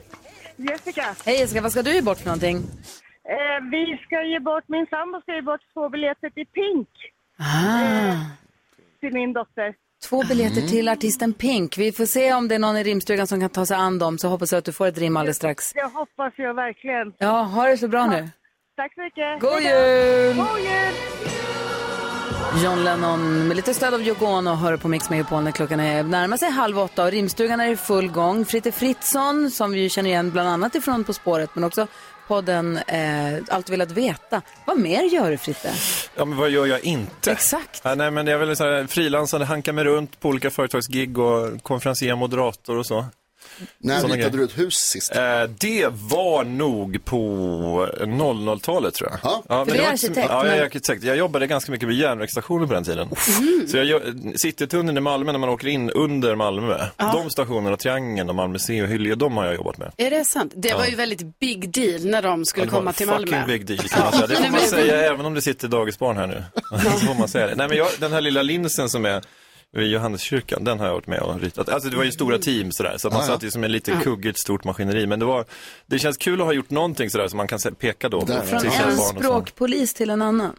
Speaker 12: Jessica,
Speaker 1: Hej Jessica, vad ska du ge bort för någonting?
Speaker 12: eh, vi ska ge bort, min sambo ska ge bort två biljetter till Pink till min dotter.
Speaker 1: Två biljetter
Speaker 12: Mm.
Speaker 1: till artisten Pink. Vi får se om det är någon i rimstugan som kan ta sig an dem, så hoppas jag att du får ett rim alldeles strax.
Speaker 12: Det hoppas jag verkligen.
Speaker 1: Ja, ha det så bra nu.
Speaker 12: Tack så mycket.
Speaker 1: God
Speaker 12: Hej då.
Speaker 1: jul!
Speaker 12: God jul!
Speaker 1: John Lennon med lite stöd av Yoko Ono hör på Mix Megapol när klockan är närmar sig halv åtta och rimstugan är i full gång. Fritte Fritzson, som vi ju känner igen bland annat ifrån På spåret, men också podden eh, Allt velat veta. Vad mer gör du Fritte?
Speaker 9: Ja, men vad gör jag inte?
Speaker 1: Exakt.
Speaker 9: Ja, nej, men jag är väl så här frilansande, hankar mig runt på olika företagsgig och konferencier, moderator och så.
Speaker 3: När
Speaker 9: Såna
Speaker 3: hittade
Speaker 9: grejer.
Speaker 3: du ett hus sist?
Speaker 9: Eh, det var nog på 00-talet tror jag. Ja, men
Speaker 3: För du
Speaker 9: det
Speaker 3: är
Speaker 9: var inte så-
Speaker 3: arkitekt,
Speaker 9: Ja, jag är
Speaker 3: men-
Speaker 9: arkitekt. Jag jobbade ganska mycket vid järnvägsstationer på den tiden. Så jag, gör- Citytunneln i Malmö, när man åker in under Malmö,
Speaker 4: Ja.
Speaker 9: de stationerna, Triangeln och Malmö C och Hyllie, de har jag jobbat med.
Speaker 4: Är det sant? Det var
Speaker 9: Ja.
Speaker 4: ju väldigt big deal när de skulle
Speaker 9: Ja, det var
Speaker 4: komma till
Speaker 9: en Alltså, fucking
Speaker 4: Malmö.
Speaker 9: big deal kan man säga. Det får man säga även om det sitter dagisbarn här nu. Så får man säga det. Nej men jag, den här lilla linsen som är vid Johanneskyrkan, den har jag varit med och ritat. Alltså det var ju stora team sådär, så att man
Speaker 11: Ja, ja.
Speaker 9: satt ju som en liten
Speaker 11: Ja.
Speaker 9: kugge i ett stort maskineri. Men det var, det känns kul att ha gjort någonting sådär som man kan se- peka då.
Speaker 1: Från en språkpolis till en annan.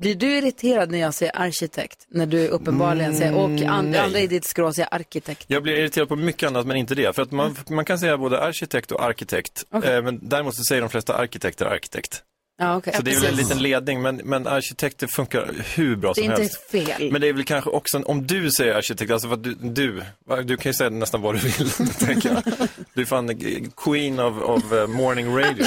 Speaker 1: Blir du irriterad när jag säger arkitekt? När du uppenbarligen säger, och and,
Speaker 9: Mm, nej.
Speaker 1: andra i ditt skrå säger arkitekt.
Speaker 9: Jag blir irriterad på mycket annat men inte det. För att man, man kan säga både arkitekt och arkitekt. Eh, men däremot så säger de flesta arkitekter arkitekt.
Speaker 1: Ja, okej.
Speaker 9: Så det är väl en liten ledning, men, men arkitekter funkar hur bra
Speaker 1: Det är
Speaker 9: som
Speaker 1: inte
Speaker 9: helst.
Speaker 1: fel.
Speaker 9: Men det är väl kanske också, en, om du säger arkitekt, alltså vad du, du, va, du kan ju säga nästan vad du vill, tänker jag. Du är fan eh, queen of, of eh, morning radio.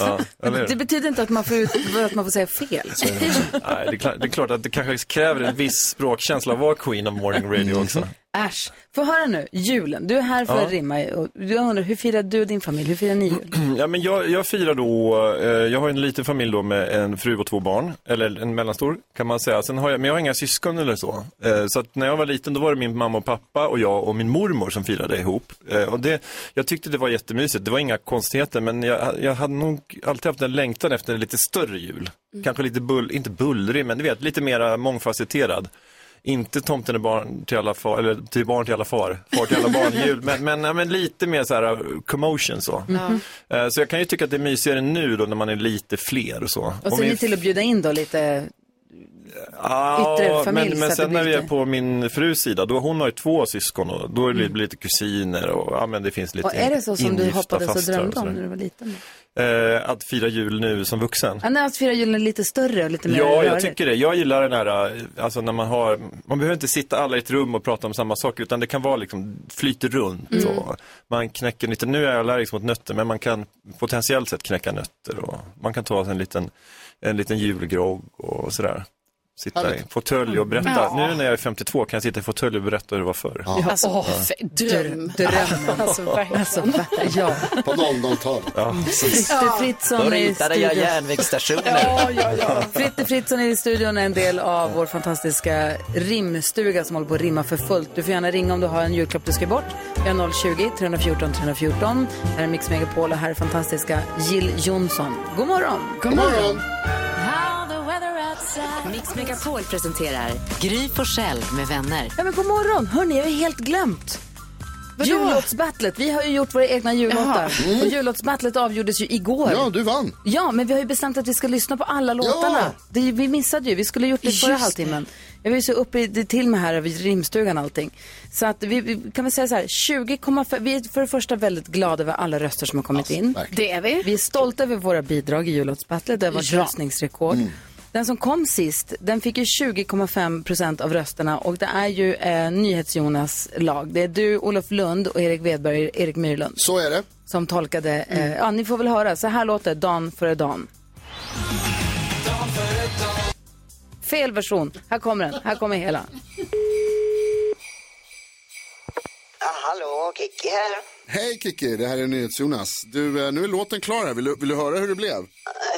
Speaker 9: Ja, eller hur?
Speaker 1: Det betyder inte att man får, ut, att man får säga fel.
Speaker 9: Nej, det, är klart, det är klart att det kanske kräver en viss språkkänsla att vara queen of morning radio också.
Speaker 1: Äsch. Få höra nu, julen. Du är här för
Speaker 9: Ja.
Speaker 1: att rimma. Och jag undrar, hur firar du och din familj? Hur firar ni jul?
Speaker 9: Ja, men jag, jag firar då, eh, jag har en liten familj då med en fru och två barn, eller en mellanstor kan man säga. Sen har jag, men jag har inga syskon eller så. Eh, så att när jag var liten då var det min mamma och pappa och jag och min mormor som firade ihop. Eh, och det, jag tyckte det var jättemysigt, det var inga konstigheter men jag, jag hade nog alltid haft en längtan efter en lite större jul. Kanske lite, bull, inte bullrig, men du vet, lite mera mångfacetterad. Inte tomten är barn till alla far, eller till barn till alla far, far till alla barn jul, men, men, ja, men lite mer så här uh, commotion så.
Speaker 1: Mhm.
Speaker 9: Eh, Så jag kan ju tycka att det är mysigare nu då när man är lite fler och så.
Speaker 1: Och så är
Speaker 9: min-
Speaker 1: ni till att bjuda in då lite...
Speaker 9: Ja,
Speaker 1: yttre
Speaker 9: men,
Speaker 1: familj, så
Speaker 9: men
Speaker 1: att
Speaker 9: sen
Speaker 1: det
Speaker 9: när
Speaker 1: blir
Speaker 9: vi är
Speaker 1: lite-
Speaker 9: på min frus sida, då hon har ju två syskon och då är det lite kusiner och ja, men det finns lite
Speaker 1: Mm. Och är det så som du
Speaker 9: ingifta
Speaker 1: hoppades och
Speaker 9: fastrar
Speaker 1: drömde om
Speaker 9: sådär.
Speaker 1: när du var liten?
Speaker 9: Eh, Att fira jul nu som vuxen.
Speaker 1: Ja, nej, att fira julen lite större och lite mer
Speaker 9: Ja, jag
Speaker 1: rörigt.
Speaker 9: tycker det. Jag gillar den här, eh, alltså när man har, man behöver inte sitta alla i ett rum och prata om samma sak utan det kan vara liksom, flyter runt
Speaker 1: Mm.
Speaker 9: och man knäcker lite, nu är jag allergisk mot nötter men man kan potentiellt sett knäcka nötter och man kan ta sig en liten, en liten julgrogg och sådär.
Speaker 13: Sitta i fåtölj och berätta.
Speaker 4: Ja.
Speaker 13: Nu när jag är 52 kan jag sitta i fåtölj och berätta hur det var förr.
Speaker 4: Alltså,
Speaker 13: Ja.
Speaker 4: f- dröm.
Speaker 1: Dröm.
Speaker 4: Alltså, verkligen.
Speaker 1: ja.
Speaker 3: På 00-talet.
Speaker 13: Ja.
Speaker 1: Fritte Fritzson är i studion.
Speaker 14: järnvägsstationer.
Speaker 1: Fritte Fritzson är i studion, en del av vår fantastiska rimstuga som håller på att rimma för fullt. Du får gärna ringa om du har en julklapp du ska bort. Vi har 020 314 314. Här är Mix Megapol och här är fantastiska Jill Johnson. God morgon!
Speaker 2: God morgon. Mix Megapol presenterar Gry på själv med vänner.
Speaker 1: Ja, men god morgon! Hörni, jag har ju helt glömt. Jullåtsbattlet. Vi har ju gjort våra egna jullåtar.
Speaker 2: Jaha. Mm.
Speaker 1: Och jullåtsbattlet avgjordes ju igår.
Speaker 2: Ja,
Speaker 3: du vann.
Speaker 1: Ja, men vi har ju bestämt att vi ska lyssna på alla låtarna. Det, vi missade ju. Vi skulle ha gjort det förra
Speaker 4: Just det.
Speaker 1: halvtimmen. Jag var ju så uppe i, det till mig här över rimstugan och allting. Så att vi, vi kan väl säga så här, 20,5. Vi är för det första väldigt glada över alla röster som har
Speaker 4: Alltså,
Speaker 1: kommit in.
Speaker 4: Det är vi.
Speaker 1: Vi är stolta över våra bidrag i jullåtsbattlet. Det var ett
Speaker 4: Ja. Mm.
Speaker 1: röstningsrekord. Den som kom sist, den fick ju 20,5 procent av rösterna och det är ju eh, NyhetsJonas lag. Det är du, Olof Lund och Erik Wedberg, Erik Myrlund.
Speaker 3: Så är det.
Speaker 1: Som tolkade, eh, ja ni får väl höra, så här låter Dan före Dan. Fel version, här kommer den, här kommer hela.
Speaker 15: Ja, hallå, Kikki här.
Speaker 3: Hej Kiki, det här är NyhetsJonas. Du, eh, nu är låten klar här. Vill du, vill du höra hur det blev?
Speaker 15: Eh,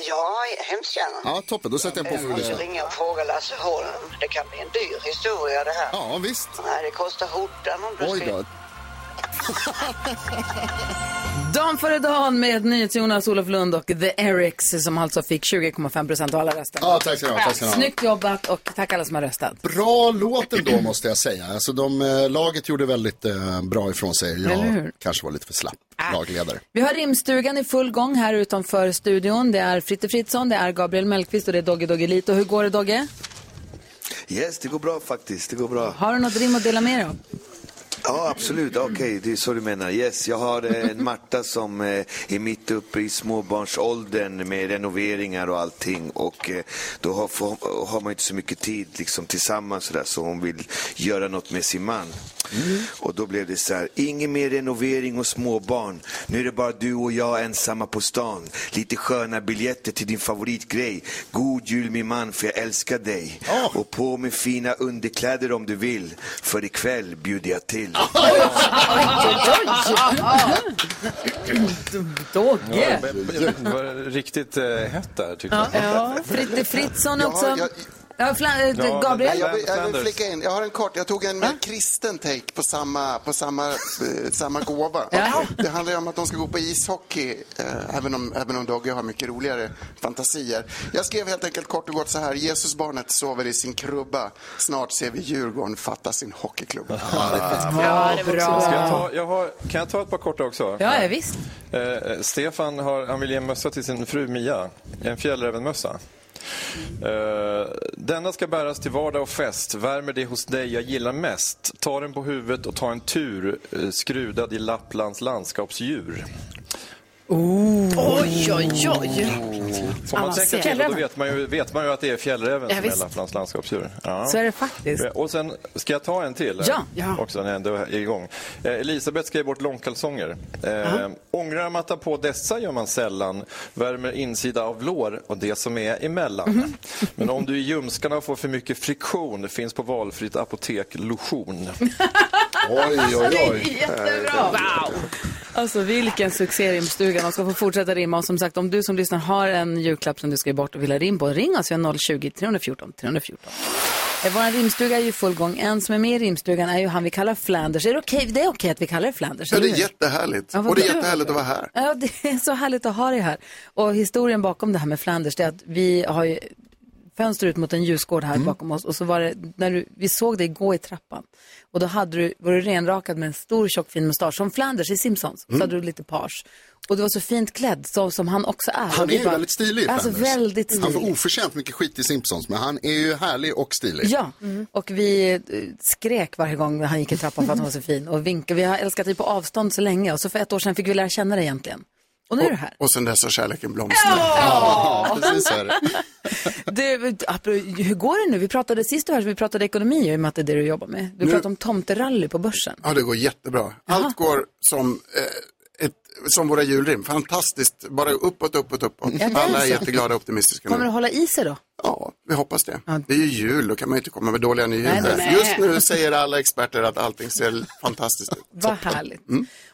Speaker 15: Ja, hemskt gärna.
Speaker 3: Ja, toppen. Då sätter jag på för
Speaker 15: Jag måste
Speaker 3: det.
Speaker 15: ringa och fråga Lasse Holm. Det kan bli en dyr historia det här.
Speaker 3: Ja, visst.
Speaker 15: Nej, det kostar skjortan om du
Speaker 3: Oj
Speaker 15: ser.
Speaker 3: då.
Speaker 1: Dan före Dan med NyhetsJonas, Olof Lund och The Erics som alltså fick 20,5 procent av alla röster.
Speaker 3: Ja, tack ska du ha, tack ska du ha.
Speaker 1: Snyggt jobbat och tack alla som har röstat.
Speaker 3: Bra låt ändå måste jag säga. Alltså, de, eh, laget gjorde väldigt eh, bra ifrån sig.
Speaker 1: Eller hur? Ah.
Speaker 3: Jag kanske var lite för slapp lagledare.
Speaker 1: Vi har rimstugan i full gång här utanför studion. Det är Fritte Fritzson, det är Gabriel Mellqvist och det är Dogge Doggelito. Hur går det Dogge?
Speaker 6: Yes, det går bra faktiskt. Det går bra.
Speaker 1: Har du något rim att dela med dig av?
Speaker 6: Ja, absolut. Okej, det är så du menar. Yes, jag har eh, en Marta som eh, är mitt uppe i småbarnsåldern med renoveringar och allting. Och eh, då har, får, har man inte så mycket tid liksom, tillsammans så, där, så hon vill göra något med sin man. Och då blev det så här, ingen mer renovering och småbarn. Nu är det bara du och jag ensamma på stan. Lite sköna biljetter till din favoritgrej. God jul min man för jag älskar dig. Och på med fina underkläder om du vill. För ikväll bjuder jag till.
Speaker 1: Dogge!
Speaker 9: Ja, det var riktigt eh, hett där tyckte
Speaker 1: Ja,
Speaker 9: jag.
Speaker 1: ja. Fritte Fritzson också.
Speaker 8: Jag har- jag-
Speaker 1: Ja, fla- eh,
Speaker 9: Ja,
Speaker 1: Gabriel?
Speaker 8: Nej, Jag vill, jag vill flika in, jag har en kort, jag tog en mer kristen take på samma, på samma, eh, samma gåva. Det handlar ju om att de ska gå på ishockey, eh, även om, även om Dogge har mycket roligare fantasier. Jag skrev helt enkelt kort och gott så här, Jesusbarnet sover i sin krubba, snart ser vi Djurgården fatta sin hockeyklubba.
Speaker 9: Ska jag, ta, jag har, kan jag ta ett par korta också?
Speaker 1: Ja, ja, visst.
Speaker 9: Eh, Stefan har, han vill ge en mössa till sin fru Mia. En fjällrävenmössa. Eh, denna ska bäras till vardag och fest. Värmer det hos dig jag gillar mest. Ta den på huvudet och ta en tur eh, skrudad i Lapplands landskapsdjur.
Speaker 4: Oj, oj, oj.
Speaker 9: Får man tänka till, då vet man, ju, vet man ju att det är fjällräven
Speaker 4: Ja,
Speaker 9: som
Speaker 4: visst.
Speaker 9: är Lapplands landskapsdjur. Ja.
Speaker 1: Så är det faktiskt.
Speaker 9: Eh, Och sen, ska jag ta en till?
Speaker 1: Ja.
Speaker 9: Också när jag ändå är igång. Eh, Elisabeth skrev bort långkalsonger. Eh, ångrar matta på dessa gör man sällan. Värmer insida av lår och det som är emellan. Men om du i ljumskarna får för mycket friktion finns på valfritt apotek lotion.
Speaker 1: Alltså,
Speaker 3: oj,
Speaker 1: oj, oj. Jättebra. Wow. Alltså vilken succé rimstugan. De ska få fortsätta rimma. Och som sagt, om du som lyssnar har en julklapp som du ska ge bort och vill ha rim på, ring oss. Vi har 020 314 314. Eh, Vår rimstuga är ju i full gång. En som är med i rimstugan är ju han vi kallar Flanders. Är det okej? Det är okej att vi kallar det Flanders.
Speaker 8: Ja, det
Speaker 1: eller
Speaker 8: är
Speaker 1: hur?
Speaker 8: jättehärligt.
Speaker 1: Ja, vad
Speaker 8: Och det är
Speaker 1: bra.
Speaker 8: jättehärligt att vara här.
Speaker 1: Ja, det är så härligt att ha dig här. Och historien bakom det här med Flanders, det är att vi har ju fönster ut mot en ljusgård
Speaker 3: Mm.
Speaker 1: här bakom oss och så var det, när du, vi såg dig gå i trappan och då hade du, var du renrakad med en stor tjock fin mustasch, som Flanders i Simpsons, så
Speaker 3: Mm.
Speaker 1: hade du lite page. Och du var så fint klädd, så, som han också är.
Speaker 3: Han
Speaker 1: Och vi
Speaker 3: är ju
Speaker 1: bara-
Speaker 3: väldigt stilig.
Speaker 1: Alltså
Speaker 3: Flanders.
Speaker 1: väldigt
Speaker 3: Han
Speaker 1: stilig.
Speaker 3: får oförtjänt mycket skit i Simpsons, men han är ju härlig och stilig.
Speaker 1: Ja, och vi eh, skrek varje gång han gick i trappan för att han var så fin och vinkade. Vi har älskat dig på avstånd så länge och så för ett år sedan fick vi lära känna dig egentligen. Och nu är du här.
Speaker 8: Och sen dess har kärleken blomstrat.
Speaker 1: Ja,
Speaker 8: precis så är det.
Speaker 1: Du, apro- hur går det nu? Vi pratade sist du var här, så vi pratade ekonomi i och med att det är det du jobbar med. Du
Speaker 8: Nu-
Speaker 1: pratade om tomterally på börsen.
Speaker 8: Ja, det går jättebra. Allt går som, eh, ett, som våra julrim. Fantastiskt. Bara uppåt, uppåt, uppåt.
Speaker 1: Ja, det är
Speaker 8: Alla är
Speaker 1: så.
Speaker 8: jätteglada och optimistiska
Speaker 1: Kommer
Speaker 8: nu.
Speaker 1: det hålla i sig då?
Speaker 8: Ja, Vi hoppas det. Det är ju jul, då kan man ju inte komma med dåliga nyheter.
Speaker 1: Nej, nej.
Speaker 8: Just nu säger alla experter att allting ser fantastiskt ut.
Speaker 1: Vad härligt.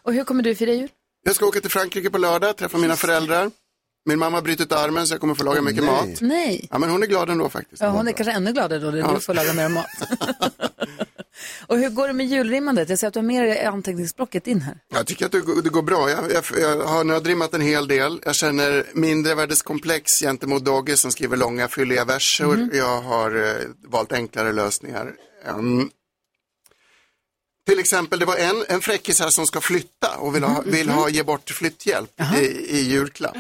Speaker 1: Och hur kommer du fira jul?
Speaker 8: Jag ska åka till Frankrike på lördag, träffa mina föräldrar. Min mamma har brutit armen så jag kommer få laga mycket mat.
Speaker 1: Nej.
Speaker 8: Ja, men hon är glad ändå faktiskt.
Speaker 1: Ja, hon är kanske ännu gladare då, när
Speaker 8: Ja.
Speaker 1: du får laga mer mat. och hur går det med julrimmandet? Jag ser att du har med dig anteckningsblocket in här.
Speaker 8: Jag tycker att det, går- det går bra. Jag, jag, jag har nödrimmat en hel del. Jag känner mindre värdeskomplex gentemot Dogge som skriver långa fylliga verser.
Speaker 16: Mhm.
Speaker 8: Jag har eh, valt enklare lösningar. Ehm, till exempel, det var en, en fräckis här som ska flytta och vill ha, vill ha ge bort flytthjälp i, i julklapp.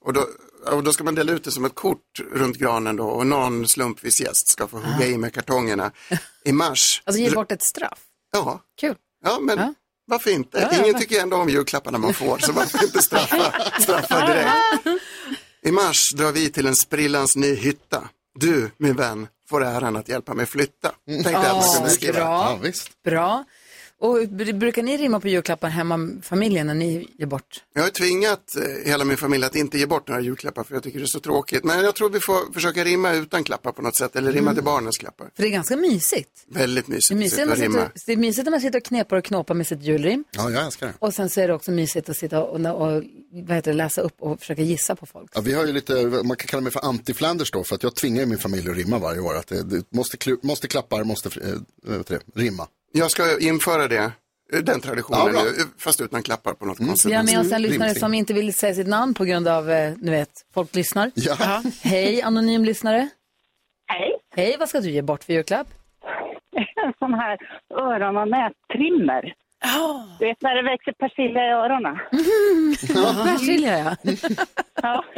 Speaker 8: Och då, och då ska man dela ut det som ett kort runt granen då och någon slumpvis gäst ska få hugga i med kartongerna i mars.
Speaker 1: Alltså ge bort ett straff.
Speaker 8: Ja.
Speaker 1: Kul.
Speaker 8: Ja, men varför inte?
Speaker 1: Ja, ja,
Speaker 8: Ingen
Speaker 1: va-
Speaker 8: tycker ju ändå om julklapparna man får, så varför inte straffa, straffa direkt? I mars drar vi till en sprillans ny hytta. Du, min vän, får äran att hjälpa mig flytta. Tänkte jag att man
Speaker 1: Mm. Ja,
Speaker 8: kunde skriva.
Speaker 1: bra. Bra. Och br- brukar ni rimma på julklappar hemma, familjen, när ni ger bort?
Speaker 8: Jag har ju tvingat eh, hela min familj att inte ge bort några julklappar för jag tycker det är så tråkigt. Men jag tror vi får försöka rimma utan klappar på något sätt, eller rimma till barnens klappar.
Speaker 1: För det är ganska mysigt.
Speaker 8: Väldigt mysigt,
Speaker 1: Mm. Det är mysigt,
Speaker 8: att
Speaker 1: när
Speaker 8: sitta
Speaker 1: man
Speaker 8: och rimma.
Speaker 1: sitter, det är mysigt när man sitter och knepar och knåpar med sitt julrim.
Speaker 3: Ja, jag älskar det.
Speaker 1: Och sen så är det också mysigt att sitta och, och, och vad heter det, läsa upp och försöka gissa på folk.
Speaker 3: Ja, vi har ju lite, man kan kalla mig för anti-Flanders då, för att jag tvingar ju min familj att rimma varje år. Att det, det måste, klu, måste klappar, måste eh, vad heter det, rimma.
Speaker 8: Jag ska införa det, eh, den
Speaker 3: Ja,
Speaker 8: traditionen
Speaker 3: bra.
Speaker 8: nu, fast utan klappar på något konstigt
Speaker 1: Mm. Vi har med
Speaker 8: sätt.
Speaker 1: oss en lyssnare som inte vill säga sitt namn på grund av, eh, nu vet, folk lyssnar.
Speaker 8: Ja.
Speaker 1: Hej, anonym lyssnare. Hej. Hej, vad ska du ge bort för julklapp?
Speaker 17: En sån här öron och nästrimmer. Du vet när det växer persilja i öronen?
Speaker 1: Persilja, ja.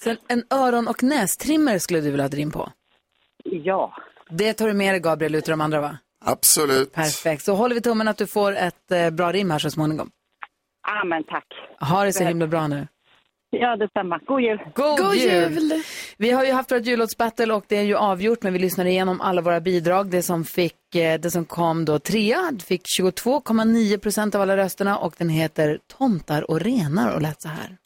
Speaker 1: Sen en öron och nästrimmer skulle du vilja ha ett rim på? Ja. Det tar du med dig, Gabriel, ut till de andra, va?
Speaker 8: Absolut.
Speaker 1: Perfekt. Så håller vi tummen att du får ett eh, bra rim här så småningom.
Speaker 17: Ja, men tack.
Speaker 1: Ha det så himla bra nu.
Speaker 17: Ja, detsamma. God jul.
Speaker 1: God, jul! Vi har ju haft vårt jullåtsbattle och det är ju avgjort men vi lyssnade igenom alla våra bidrag. Det som, fick, eh, det som kom då trea fick 22,9 procent av alla rösterna och den heter Tomtar och renar och lät så här.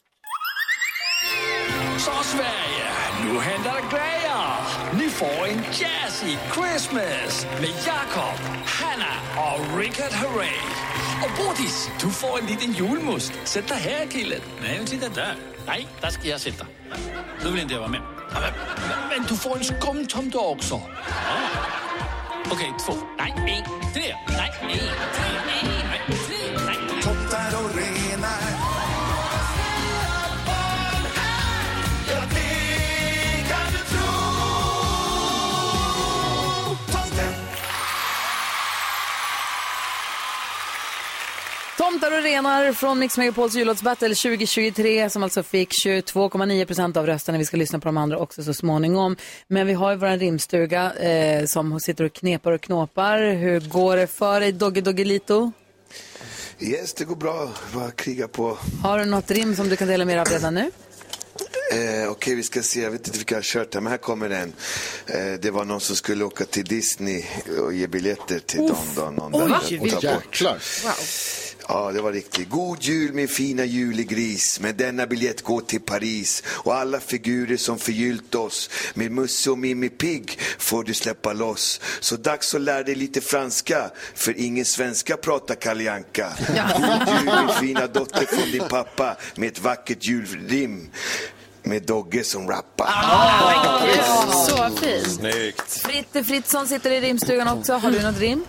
Speaker 13: Så Sverige, nu händer det grejer! Ni får en jazzy Christmas med Jakob, Hanna och Richard Herrey. Och Bodis, du får en liten julmust. Sätt dig här killen. Nej, men titta där. Nej, där ska jag sitta. Nu vill inte jag vara med. Ja, Men, men- men du får en skumtomte också. Ja. Okej, två. Nej, en, tre. Nej, en, tre. Nej, en, tre. Nej, en. Tomtar och renar.
Speaker 1: Tomtar och renar från Mix Megapols jullåtsbattle 2023 som alltså fick 22,9 procent av rösterna. Vi ska lyssna på de andra också så småningom. Men vi har ju vår rimstuga eh, som sitter och knepar och knåpar. Hur går det för dig, Dogge Doggelito?
Speaker 6: Yes, det går bra. Bara kriga på.
Speaker 1: Har du något rim som du kan dela med dig av redan nu?
Speaker 6: Eh, Okej, vi ska se. Jag vet inte vilka jag har kört här, men här kommer den. Eh, det var någon som skulle åka till Disney och ge biljetter till
Speaker 3: Uff.
Speaker 6: dem. Då, någon
Speaker 3: Oj,
Speaker 6: där
Speaker 3: vilken-
Speaker 6: och ta bort.
Speaker 3: Jäklar.
Speaker 6: Ja, det var riktigt. God jul min fina julegris. Med denna biljett gå till Paris. Och alla figurer som förgyllt oss. Med Musse och Mimmi Pigg får du släppa loss. Så dags att lära dig lite franska. För ingen svenska pratar Kalle Anka. God jul min fina dotter från din pappa. Med ett vackert julrim. Med Dogge som rappar.
Speaker 1: Så fint.
Speaker 11: Snyggt.
Speaker 1: Fritte Fritzson sitter i rimstugan också. Har du något rim?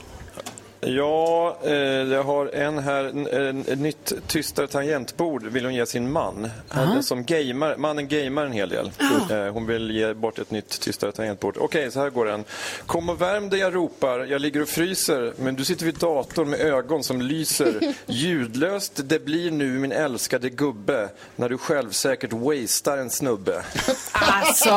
Speaker 11: Ja, eh, jag har en här. En, en, ett nytt tystare tangentbord vill hon ge sin man. Han
Speaker 18: Aha.
Speaker 11: som gamer, mannen gamer en hel del. Eh, Hon vill ge bort ett nytt tystare tangentbord. Okej, så här går den. Kom och värm dig, jag ropar. Jag ligger och fryser, men du sitter vid datorn med ögon som lyser. Ljudlöst det blir nu, min älskade gubbe, när du självsäkert wastar en snubbe.
Speaker 1: Alltså,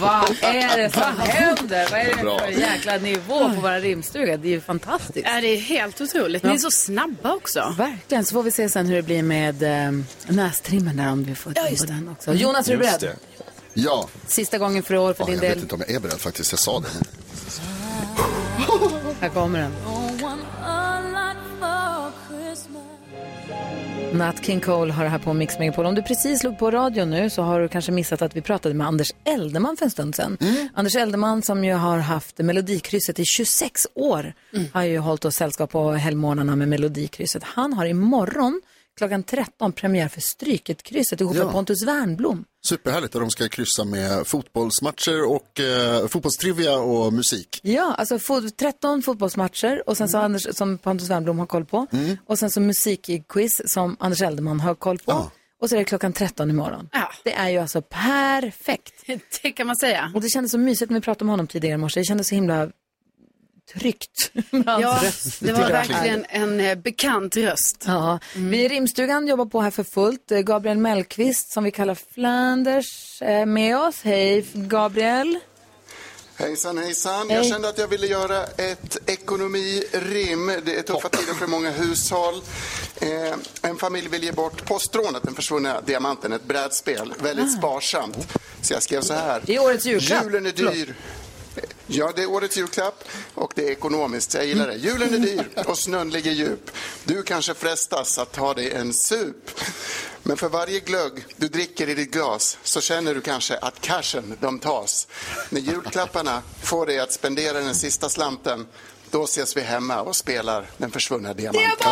Speaker 1: vad är det som händer? Vad är det
Speaker 11: Bra.
Speaker 1: för jäkla nivå på våra rimstuga? Det är ju fantastiskt.
Speaker 4: Ja, det är helt otroligt. Ni är så snabba också.
Speaker 1: Verkligen, så får vi se sen hur det blir med eh, nästrimmen där om vi får ja, på den också. Jonas, är du
Speaker 3: Just
Speaker 1: beredd?
Speaker 3: det. Ja,
Speaker 1: Sista gången för i år för
Speaker 3: ja jag
Speaker 1: din
Speaker 3: vet
Speaker 1: del.
Speaker 3: inte om jag är beredd faktiskt, jag sa det.
Speaker 1: Här kommer den. Nat King Cole har det här på Mix Megapol. Om du precis slog på radio nu så har du kanske missat att vi pratade med Anders Eldeman för en stund sedan. Anders Eldeman som ju har haft Melodikrysset i 26 år har ju hållit oss sällskap på helgmorgnarna med Melodikrysset. Han har imorgon klockan 13 premiär för Stryket-krysset ihop med
Speaker 3: Ja.
Speaker 1: Pontus Wernbloom.
Speaker 3: Superhärligt där de ska kryssa med fotbollsmatcher och eh, fotbollstrivia och musik.
Speaker 1: Ja, alltså fot- 13 fotbollsmatcher och sen så Anders, som Pontus Wernbloom har koll på. Och sen så musikquiz som Anders Eldeman har koll på. Och så är det klockan 13 imorgon. Det är ju alltså perfekt.
Speaker 4: Det kan man säga.
Speaker 1: Och det kändes så mysigt när vi pratade om honom tidigare i morse. Det kändes så himla tryggt med hans
Speaker 4: Ja,
Speaker 1: röst.
Speaker 4: det var verkligen en eh, bekant röst.
Speaker 1: Ja, vi i Rimstugan jobbar på här för fullt. Eh, Gabriel Mellqvist som vi kallar Flanders är med oss. Hej Gabriel.
Speaker 8: Hejsan, hejsan.
Speaker 1: Hej.
Speaker 8: Jag kände att jag ville göra ett ekonomirim. Det är tuffa tider för många hushåll. Eh, en familj vill ge bort postrånet, den försvunna diamanten, ett brädspel. Väldigt sparsamt. Så jag skrev så här.
Speaker 1: Ah. Det är årets julklapp.
Speaker 8: Julen är dyr. Ja, det är årets julklapp och det är ekonomiskt. Jag gillar det. Julen är dyr och snön ligger djup. Du kanske frestas att ta dig en sup. Men för varje glögg du dricker i ditt glas så känner du kanske att cashen, de tas. När julklapparna får dig att spendera den sista slanten, då ses vi hemma och spelar Den försvunna diamanten.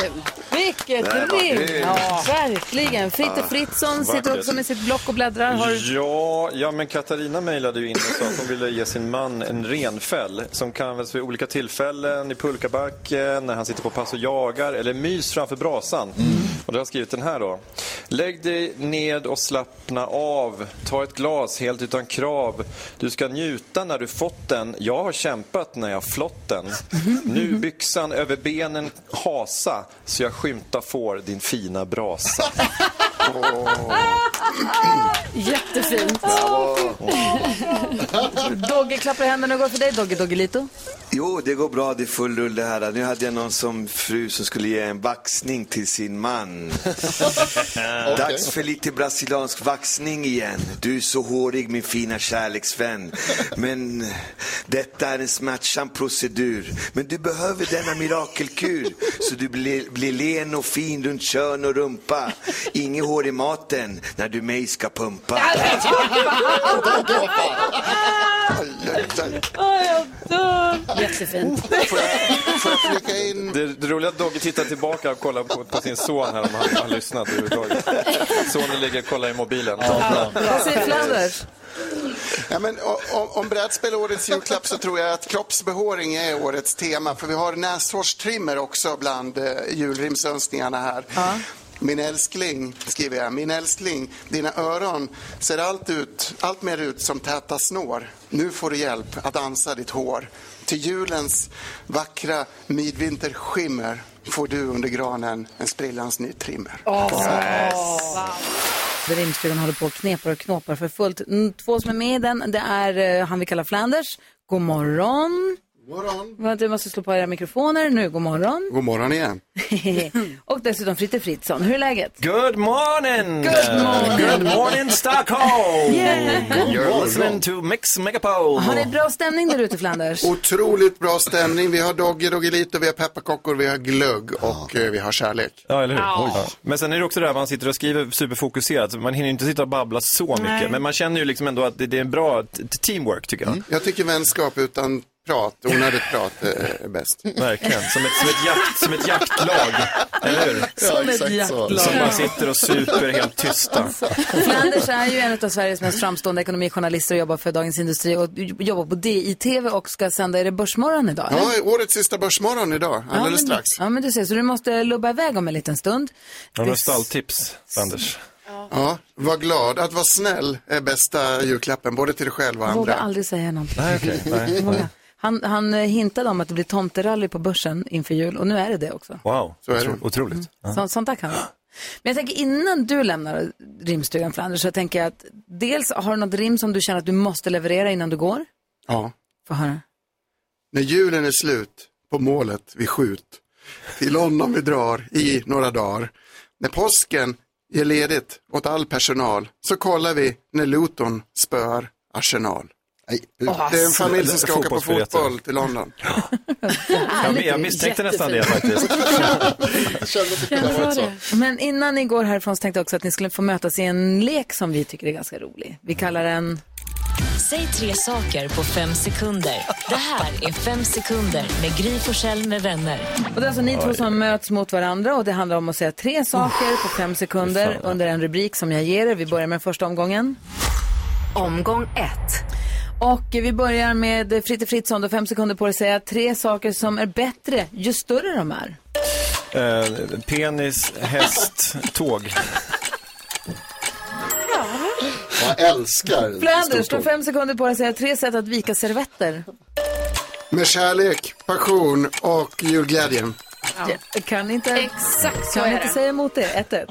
Speaker 1: Kul. Vilket
Speaker 8: Nej, vad
Speaker 1: rim!
Speaker 8: grymt.
Speaker 1: Ja, verkligen. Fritte
Speaker 9: Ah,
Speaker 1: Fritzson sitter
Speaker 9: vackert.
Speaker 1: också med sitt block och bläddrar. Har...
Speaker 9: Ja, ja, men Katarina mejlade ju in och sa att hon ville ge sin man en renfäll som kan användas vid olika tillfällen, i pulkabacken, när han sitter på pass och jagar eller mys framför brasan. Och då har jag skrivit den här då. Lägg dig ned och slappna av. Ta ett glas helt utan krav. Du ska njuta när du fått den. Jag har kämpat när jag flått den. Nu byxan över benen hasa så jag skymta får din fina brasa.
Speaker 1: Jättefint.
Speaker 6: Bravo.
Speaker 1: Dogge klappar i händerna och går för dig, Dogge Doggelito.
Speaker 6: Jo, det går bra. Det är full rulle här. Nu hade jag någon som fru som skulle ge en vaxning till sin man. Dags för lite brasiliansk vaxning igen. Du är så hårig min fina kärleksvän. Men detta är en smärtsam procedur. Men du behöver denna mirakelkur så du blir, blir len och fin runt kön och rumpa. Inget hår i maten när du mig ska pumpa.
Speaker 1: jag dör!
Speaker 4: Jättefint.
Speaker 9: Det, det roliga är att Dogge tittar tillbaka och kollar på, på sin son här om han har lyssnat överhuvudtaget. Sonen ligger och kollar i mobilen.
Speaker 1: Vad säger Flanders?
Speaker 8: Ja, men, o- o- om brädspel är årets julklapp så tror jag att kroppsbehåring är årets tema. För vi har näshårstrimmer också bland eh, julrimsönskningarna här. Min älskling, skriver jag. Min älskling, dina öron ser allt, ut, allt mer ut som täta snår. Nu får du hjälp att ansa ditt hår. Till julens vackra midvinterskimmer får du under granen en sprillans ny trimmer.
Speaker 1: Där Rimstugan håller på och knepar och knåpar för fullt. Mm, Två som är med i den, det är eh, han vi kallar Flanders. God morgon. Vänta, Du måste slå på era mikrofoner nu. God morgon.
Speaker 8: God morgon igen.
Speaker 1: och dessutom Fritte Fritzson. Hur är läget?
Speaker 9: Good morning!
Speaker 1: Good morning.
Speaker 9: Good morning Stockholm!
Speaker 1: Yeah. God
Speaker 9: You're
Speaker 1: morgon.
Speaker 9: listening to Mix Megapol.
Speaker 1: Har ni bra stämning där ute, Flanders?
Speaker 8: Otroligt bra stämning. Vi har Dogge Doggelito, vi har pepparkakor, vi har glögg och eh, vi har kärlek.
Speaker 9: Ja, eller hur?
Speaker 8: Ja.
Speaker 9: Ja. Men sen är det också det här man sitter och skriver superfokuserat. så Man hinner ju inte sitta och babbla så mycket.
Speaker 8: Nej.
Speaker 9: Men man känner ju liksom ändå att det, det är en bra t- teamwork tycker
Speaker 1: Mm.
Speaker 9: jag.
Speaker 8: Jag tycker vänskap utan prat, onödigt prat, eh, är bäst.
Speaker 9: Verkligen. Som ett, som ett, jakt, som ett jaktlag. Eller hur?
Speaker 8: Som Ja, ett exakt så. jaktlag.
Speaker 9: Som bara sitter och super helt tysta.
Speaker 1: Alltså, Flanders är ju en av Sveriges mest framstående ekonomijournalister och jobbar för Dagens Industri och jobbar på DI-TV och ska sända, är det Börsmorgon idag? eller?
Speaker 8: Ja, årets sista Börsmorgon idag, alldeles
Speaker 1: men,
Speaker 8: strax.
Speaker 1: Ja, men du ser, så du måste lubba iväg om en liten stund.
Speaker 9: Har du några stalltips, Anders?
Speaker 8: Ja, var glad. Att vara snäll är bästa julklappen, både till dig själv och
Speaker 1: Jag vågar
Speaker 8: andra.
Speaker 1: aldrig säga någonting.
Speaker 9: Nej, okej. Nej,
Speaker 1: Vågar.
Speaker 9: nej.
Speaker 1: Han, han eh, hintade om att det blir tomterally på börsen inför jul och nu är det det också.
Speaker 9: Wow,
Speaker 8: så är det.
Speaker 9: otroligt. Ja.
Speaker 1: Så, sånt där kan han. Men jag tänker innan du lämnar rimstugan Flanders så tänker jag att dels har du något rim som du känner att du måste leverera innan du går?
Speaker 8: Ja.
Speaker 1: Få höra.
Speaker 8: När julen är slut, på målet vi skjut, till honom vi drar i några dagar. När påsken ger ledigt åt all personal, så kollar vi när Luton spöar Arsenal.
Speaker 3: Nej,
Speaker 8: Det är en familj som ska åka på fotboll till London.
Speaker 1: Ah,
Speaker 9: Jag, jag misstänkte nästan det faktiskt.
Speaker 1: Men innan ni går härifrån så tänkte jag också att ni skulle få mötas i en lek som vi tycker är ganska rolig. Vi kallar den...
Speaker 5: Säg tre saker på fem sekunder. Det här är Fem sekunder med Gry Forssell med vänner.
Speaker 1: Och det är alltså ni två som möts mot varandra och det handlar om att säga tre saker på fem sekunder under en rubrik som jag ger er. Vi börjar med första omgången. Omgång ett. Och eh, vi börjar med Fritte Fritzson. Du har fem sekunder på dig att säga tre saker som är bättre ju större de är.
Speaker 9: Eh, penis, häst, tåg.
Speaker 3: Jag älskar
Speaker 1: Flanders, du har fem sekunder på dig att säga tre sätt att vika servetter.
Speaker 8: Med kärlek, passion och julglädje.
Speaker 1: Jag kan inte, Exakt kan inte säga emot det. Ett, ett.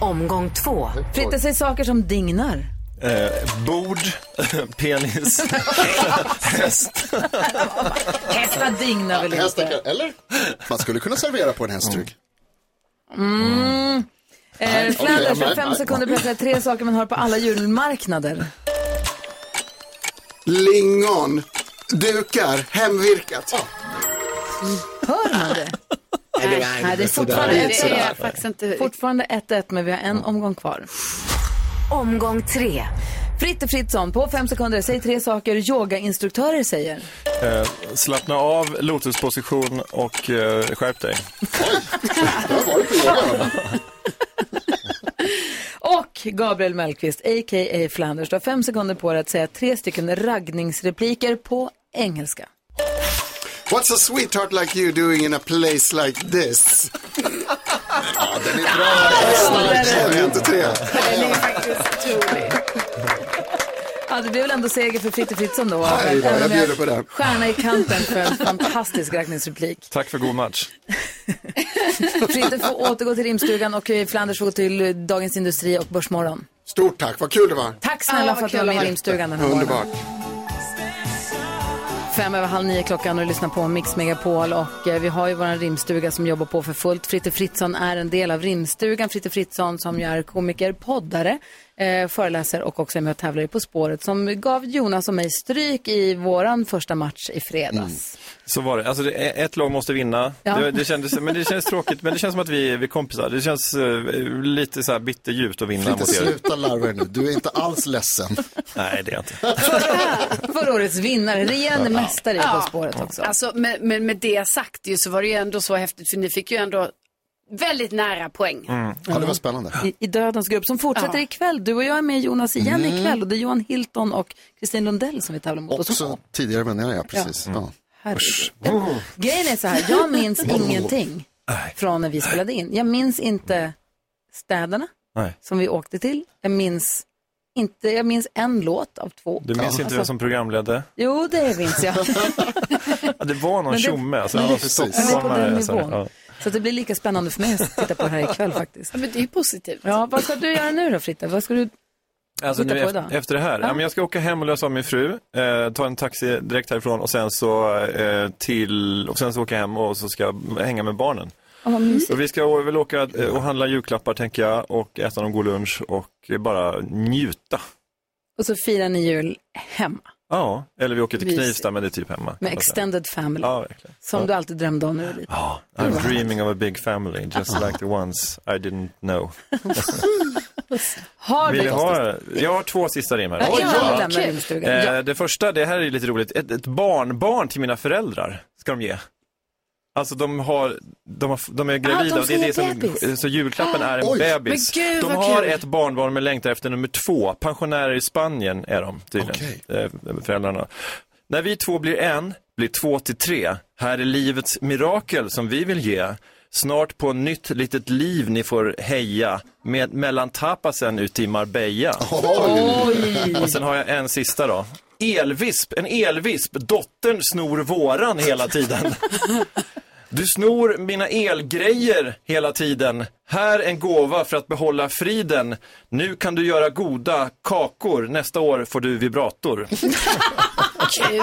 Speaker 1: Omgång två. Fritte, säg saker som dignar.
Speaker 9: Eh, bord, penis, häst.
Speaker 1: Hästar dignar väl
Speaker 3: Hästar
Speaker 1: inte?
Speaker 3: kan- Eller? Man skulle kunna servera på en hästrygg.
Speaker 1: Mm. Eh,
Speaker 3: Nej, okej,
Speaker 1: Flanders, du har
Speaker 3: men-
Speaker 1: fem sekunder på dig att säga tre saker man har på alla julmarknader.
Speaker 8: Lingon, dukar, hemvirkat.
Speaker 1: Hör man det?
Speaker 8: Nej, det är-
Speaker 1: Nej, det är fortfarande
Speaker 8: sådär.
Speaker 1: ett,
Speaker 8: Det är
Speaker 1: ett, faktiskt inte... fortfarande ett, ett, men vi har en omgång kvar. Omgång tre. Fritte Fritzson, på fem sekunder, säg tre saker yogainstruktörer säger.
Speaker 9: Eh, slappna av, lotusposition och eh, skärp dig.
Speaker 1: Och Gabriel Mellqvist, a.k.a. Flanders, du har fem sekunder på dig att säga tre stycken raggningsrepliker på engelska.
Speaker 8: What's a sweetheart like you doing in a place like this? ja, den är bra. Jag vet inte tre.
Speaker 1: Ja, det blev väl ändå seger för Fritte Fritzson då?
Speaker 8: Nej då, jag bjuder på det.
Speaker 1: Stjärna i kanten för en fantastisk raggningsreplik.
Speaker 9: Tack för god match.
Speaker 1: Fritte får återgå till rimstugan och eh, Flanders får gå till eh, Dagens Industri och Börsmorgon.
Speaker 8: Stort tack, vad kul det var.
Speaker 1: Tack snälla
Speaker 8: Ah, vad
Speaker 1: för att du var
Speaker 8: kul
Speaker 1: med i
Speaker 8: det var.
Speaker 1: rimstugan den här
Speaker 8: Underbart.
Speaker 1: morgonen. Fem över halv nio klockan och du lyssnar på Mix Megapol och eh, vi har ju vår rimstuga som jobbar på för fullt. Fritte Fritzson är en del av rimstugan. Fritte Fritzson som ju är komiker, poddare, eh, föreläser och också är med och tävlar i På spåret som gav Jonas och mig stryk i våran första match i fredags.
Speaker 9: Så var det. Alltså, det, ett lag måste vinna.
Speaker 1: Ja.
Speaker 9: Det, det, kändes, men det känns tråkigt, men det känns som att vi, är- vi är kompisar. Det känns eh, lite så här bitterljuvt att vinna
Speaker 3: Fritte,
Speaker 9: mot er.
Speaker 3: sluta larva dig nu. Du är inte alls ledsen.
Speaker 9: Nej, det är jag inte.
Speaker 1: Förra årets vinnare, regerande mästare i På spåret också.
Speaker 4: Alltså, men, men med det sagt ju så var det ju ändå så häftigt för ni fick ju ändå väldigt nära poäng.
Speaker 1: Mm.
Speaker 3: Ja, det var spännande.
Speaker 1: i, i Dödens grupp som fortsätter
Speaker 4: Ja.
Speaker 1: ikväll. Du och jag är med Jonas igen
Speaker 3: Mm.
Speaker 1: ikväll och det är Johan Hilton och Kristin Lundell som vi tävlar mot. Och så-
Speaker 3: Också tidigare vänner, ja precis. Ja.
Speaker 1: Herregud. Grejen är så här, jag minns ingenting från när vi spelade in. Jag minns inte städerna
Speaker 9: Nej.
Speaker 1: som vi åkte till. Jag minns, inte, jag minns en låt av två.
Speaker 9: Du minns inte vem som programledde?
Speaker 1: Jo, det minns jag.
Speaker 9: Ja, det var någon
Speaker 1: Men det-
Speaker 9: tjomme. Alltså,
Speaker 1: men
Speaker 9: ja, alltså.
Speaker 1: det-
Speaker 9: för
Speaker 1: men det är på
Speaker 9: stockholmare,
Speaker 1: den
Speaker 9: så här,
Speaker 1: nivån. Så att det blir lika spännande för mig att titta på det här ikväll faktiskt.
Speaker 4: men det är ju positivt.
Speaker 1: Ja, vad ska du göra nu då Fritte? Vad ska du...
Speaker 9: Alltså
Speaker 1: Titta
Speaker 9: nu
Speaker 1: på
Speaker 9: efter,
Speaker 1: idag.
Speaker 9: efter det här, ja. men jag ska åka hem och lösa av min fru, eh, ta en taxi direkt härifrån och sen så eh, till, och sen så åka hem och så ska jag hänga med barnen.
Speaker 1: Oh, vad mysigt.
Speaker 9: Och vi ska å- väl åka eh, och handla julklappar tänker jag och äta någon god lunch och eh, bara njuta.
Speaker 1: Och så firar ni jul hemma
Speaker 9: Ja, eller vi åker till
Speaker 1: Mysigt.
Speaker 9: Knivsta men det är typ hemma. kan
Speaker 1: med
Speaker 9: man säga.
Speaker 1: extended family.
Speaker 9: Ja, verkligen.
Speaker 1: Som
Speaker 9: Ja.
Speaker 1: du alltid drömde om när du var liten.
Speaker 9: I'm dreaming of a big family, just like the ones I didn't know.
Speaker 1: Har
Speaker 9: Vill
Speaker 1: du?
Speaker 9: ni ha, jag har två sista rim här.
Speaker 1: Ja, ja,
Speaker 9: Ja.
Speaker 1: vi lämnar rimstugan.
Speaker 9: Eh,
Speaker 1: Ja.
Speaker 9: Det första, det här är ju lite roligt, ett, ett barnbarn till mina föräldrar ska de ge. Alltså de har, de, har, de är gravida
Speaker 13: Ah, de
Speaker 9: och det är
Speaker 13: ska
Speaker 9: det
Speaker 13: ge
Speaker 9: som,
Speaker 13: bebis.
Speaker 9: så julklappen är en
Speaker 13: Oj.
Speaker 9: bebis.
Speaker 13: Men gud,
Speaker 9: de
Speaker 13: vad
Speaker 9: har
Speaker 13: kul.
Speaker 9: ett barnbarn men längtar efter nummer två, pensionärer i Spanien är de tydligen, eh, föräldrarna. När vi två blir en, blir två till tre. Här är livets mirakel som vi vill ge. Snart på nytt litet liv ni får heja med, mellan tapasen ute i Marbella.
Speaker 13: Oj.
Speaker 9: Och sen har jag en sista då. Elvisp, en elvisp, dottern snor våran hela tiden. Du snor mina elgrejer hela tiden. Här en gåva för att behålla friden. Nu kan du göra goda kakor. Nästa år får du vibrator.
Speaker 4: Kul!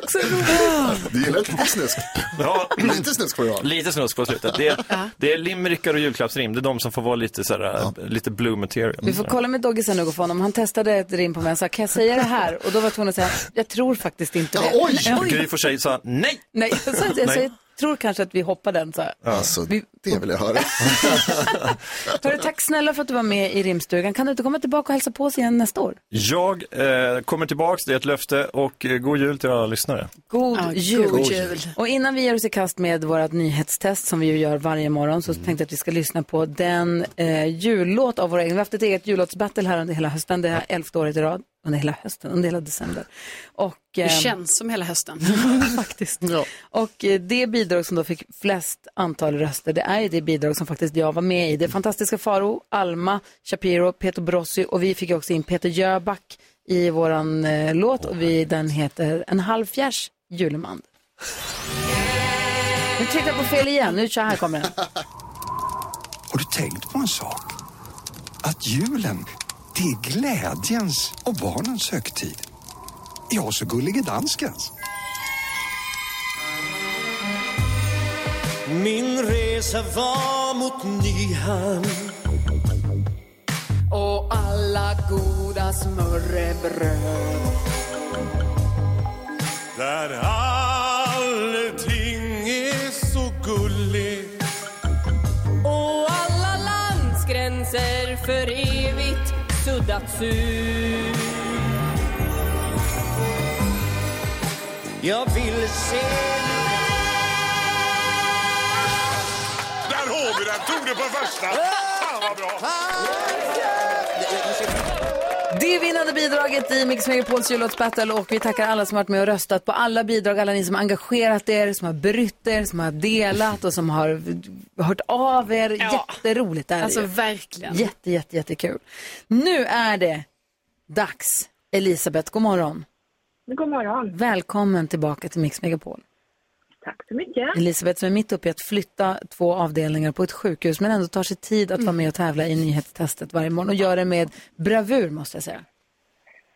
Speaker 1: Också roligt.
Speaker 3: Du gillar lite snusk?
Speaker 9: Ja.
Speaker 3: Lite snusk får jag.
Speaker 9: Lite snusk på slutet. Det är, det är limerickar och julklappsrim. Det är de som får vara lite, så här, lite blue material.
Speaker 1: Vi får kolla med Dogge sen och gå för honom. Han testade ett rim på mig och sa, kan jag säga det här? Och då var jag tvungen att säga, jag tror faktiskt inte det.
Speaker 9: Gry för sig sa nej.
Speaker 1: Nej, jag, sa inte, jag, sa,
Speaker 9: Nej.
Speaker 1: jag tror kanske att vi hoppar den så här.
Speaker 3: Alltså, det vill jag höra.
Speaker 1: Hörru, tack snälla för att du var med i rimstugan. Kan du inte komma tillbaka och hälsa på oss igen nästa år?
Speaker 9: Jag eh, kommer tillbaks, det är ett löfte och eh, god jul till alla lyssnare.
Speaker 1: God, jul.
Speaker 9: god jul.
Speaker 1: Och innan vi ger oss i kast med vårt nyhetstest som vi ju gör varje morgon så tänkte jag att vi ska lyssna på den eh, jullåt av våra egna. Vi har haft ett eget jullåtsbattle här under hela hösten. Det är elfte året i rad. Under hela hösten, under hela december. Och,
Speaker 4: Det
Speaker 1: eh,
Speaker 4: känns som hela hösten.
Speaker 1: faktiskt. Och eh, det bidrag som då fick flest antal röster, det är ju det bidrag som faktiskt jag var med i. Det är fantastiska Faro, Alma, Shapiro, Peter Brossi och vi fick ju också in Peter Jöback i våran eh, låt och vi, den heter En halvfjärs julemand. Nu tryckte jag på fel igen, nu kör här kommer den.
Speaker 16: Har du tänkt på en sak? Att julen, det är glädjens och barnens högtid. Ja, så gullige danskens.
Speaker 18: Min resa var mot Nyhamn
Speaker 19: och alla goda smörrebröd.
Speaker 18: där allting är så gulligt
Speaker 19: Och alla landsgränser för evigt suddats ut.
Speaker 18: Jag vill se Där har vi den! Tog det på första! Fan vad bra!
Speaker 1: Det är vinnande bidraget i Mix Megapols jullåtsbattle och vi tackar alla som har varit med och röstat på alla bidrag, alla ni som har engagerat er, som har brytt er, som har delat och som har hört av er. Jätteroligt är det
Speaker 4: Alltså
Speaker 1: ju.
Speaker 4: verkligen.
Speaker 1: Jätte, jätte, jättekul. Nu är det dags. Elisabeth, god morgon.
Speaker 12: God morgon.
Speaker 1: Välkommen tillbaka till Mix Megapol.
Speaker 12: Tack så mycket.
Speaker 1: Elisabeth som är mitt uppe i att flytta två avdelningar på ett sjukhus men ändå tar sig tid
Speaker 12: Mm.
Speaker 1: att vara med och tävla i nyhetstestet varje morgon och gör det med bravur måste jag säga.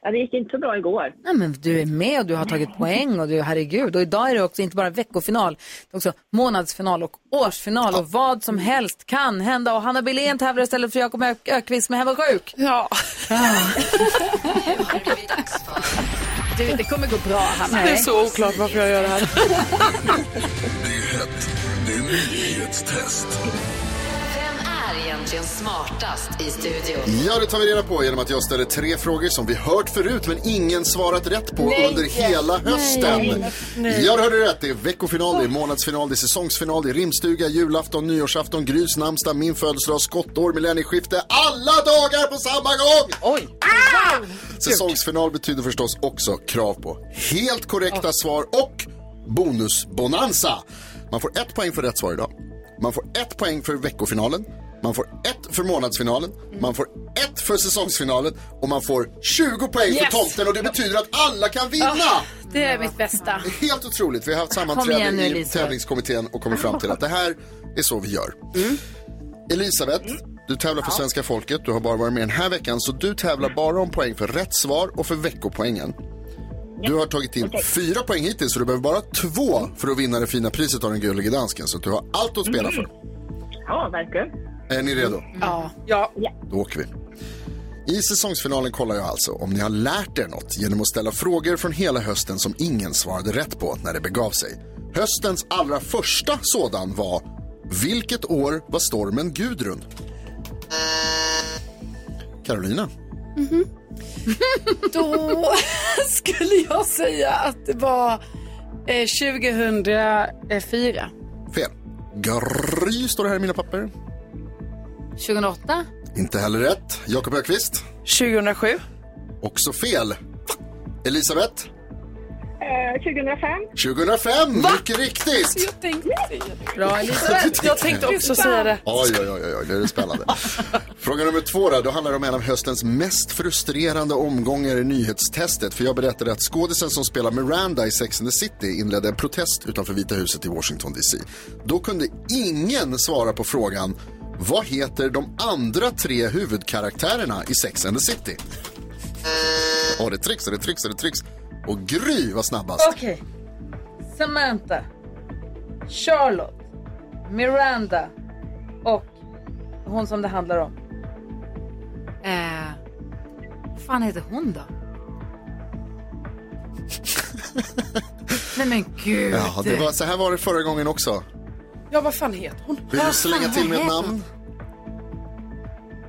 Speaker 12: Ja, det gick inte så bra igår.
Speaker 1: Nej, men du är med och du har tagit poäng och du, herregud. Och idag är det också inte bara veckofinal, det är också månadsfinal och årsfinal och vad som helst kan hända. Och Hanna Billén tävlar istället för Jakob Ö- Ökvist som är hemma sjuk. Ja.
Speaker 4: Du, det kommer gå bra, Hanna.
Speaker 7: Det är så oklart varför jag gör det här.
Speaker 20: Det är nyhetstest.
Speaker 5: Vem är egentligen smartast i studion?
Speaker 3: Ja, det tar vi reda på genom att jag ställer tre frågor som vi hört förut men ingen svarat rätt på
Speaker 20: Nej.
Speaker 3: under hela hösten.
Speaker 20: Nej. Nej.
Speaker 3: Jag hörde rätt. Det är veckofinal, det är månadsfinal, det är säsongsfinal, det är rimstuga, julafton, nyårsafton, Grys namnsdag, min födelsedag, skottår, millennieskifte. Alla dagar på samma gång!
Speaker 1: Oj!
Speaker 3: Ah! Säsongsfinal betyder förstås också krav på helt korrekta svar och bonusbonanza. Man får ett poäng för rätt svar idag. Man får ett poäng för veckofinalen. Man får ett för månadsfinalen. Man får ett för säsongsfinalen. Och man får 20 poäng
Speaker 4: Yes!
Speaker 3: för tomten och det betyder att alla kan vinna!
Speaker 4: Ah, det är mitt bästa.
Speaker 3: Helt otroligt. Vi har haft
Speaker 4: Kom igen
Speaker 3: sammanträden
Speaker 4: nu,
Speaker 3: i
Speaker 4: Elisabeth.
Speaker 3: tävlingskommittén och kommit fram till att det här är så vi gör.
Speaker 4: Mm.
Speaker 3: Elisabeth, du tävlar för svenska folket. Du har bara varit med den här veckan, så du tävlar bara om poäng för rätt svar och för veckopoängen. Du har tagit in fyra poäng hittills, så du behöver bara två för att vinna det fina priset av den gullige dansken. Så att du har allt att
Speaker 4: Mm.
Speaker 3: spela för.
Speaker 12: Ja, verkligen.
Speaker 3: Är ni redo?
Speaker 12: Mm. Ja. Ja.
Speaker 3: Då åker vi. I säsongsfinalen kollar jag alltså om ni har lärt er något genom att ställa frågor från hela hösten som ingen svarade rätt på när det begav sig. Höstens allra första sådan var Vilket år var stormen Gudrun? Carolina.
Speaker 4: Då skulle jag säga att det var eh, 2004.
Speaker 3: Fel. Gry står det här i mina papper.
Speaker 1: 2008?
Speaker 3: Inte heller rätt. Jakob Ökvist.
Speaker 7: 2007?
Speaker 3: Också fel. Elisabeth.
Speaker 12: Eh, 2005.
Speaker 3: 2005. Mycket riktigt.
Speaker 7: Jag tänkte säga det.
Speaker 1: Bra,
Speaker 7: Elisabeth. Jag tänkte också säga det.
Speaker 3: Oj, oj, oj, oj, nu är det spännande. Fråga nummer två då, då handlar det om en av höstens mest frustrerande omgångar i nyhetstestet. För jag berättade att skådisen som spelar Miranda i Sex and the City inledde en protest utanför Vita huset i Washington DC. Då kunde ingen svara på frågan vad heter de andra tre huvudkaraktärerna i Sex and the City? Och det trycks och det trycks och det trycks. Och Gry var snabbast.
Speaker 1: Okej. Samantha, Charlotte, Miranda och hon som det handlar om. Eh, vad fan heter hon då? Nej men gud.
Speaker 3: Ja, det var, så här var det förra gången också.
Speaker 13: Ja, vad fan heter hon?
Speaker 3: Vill du slänga till med ett namn?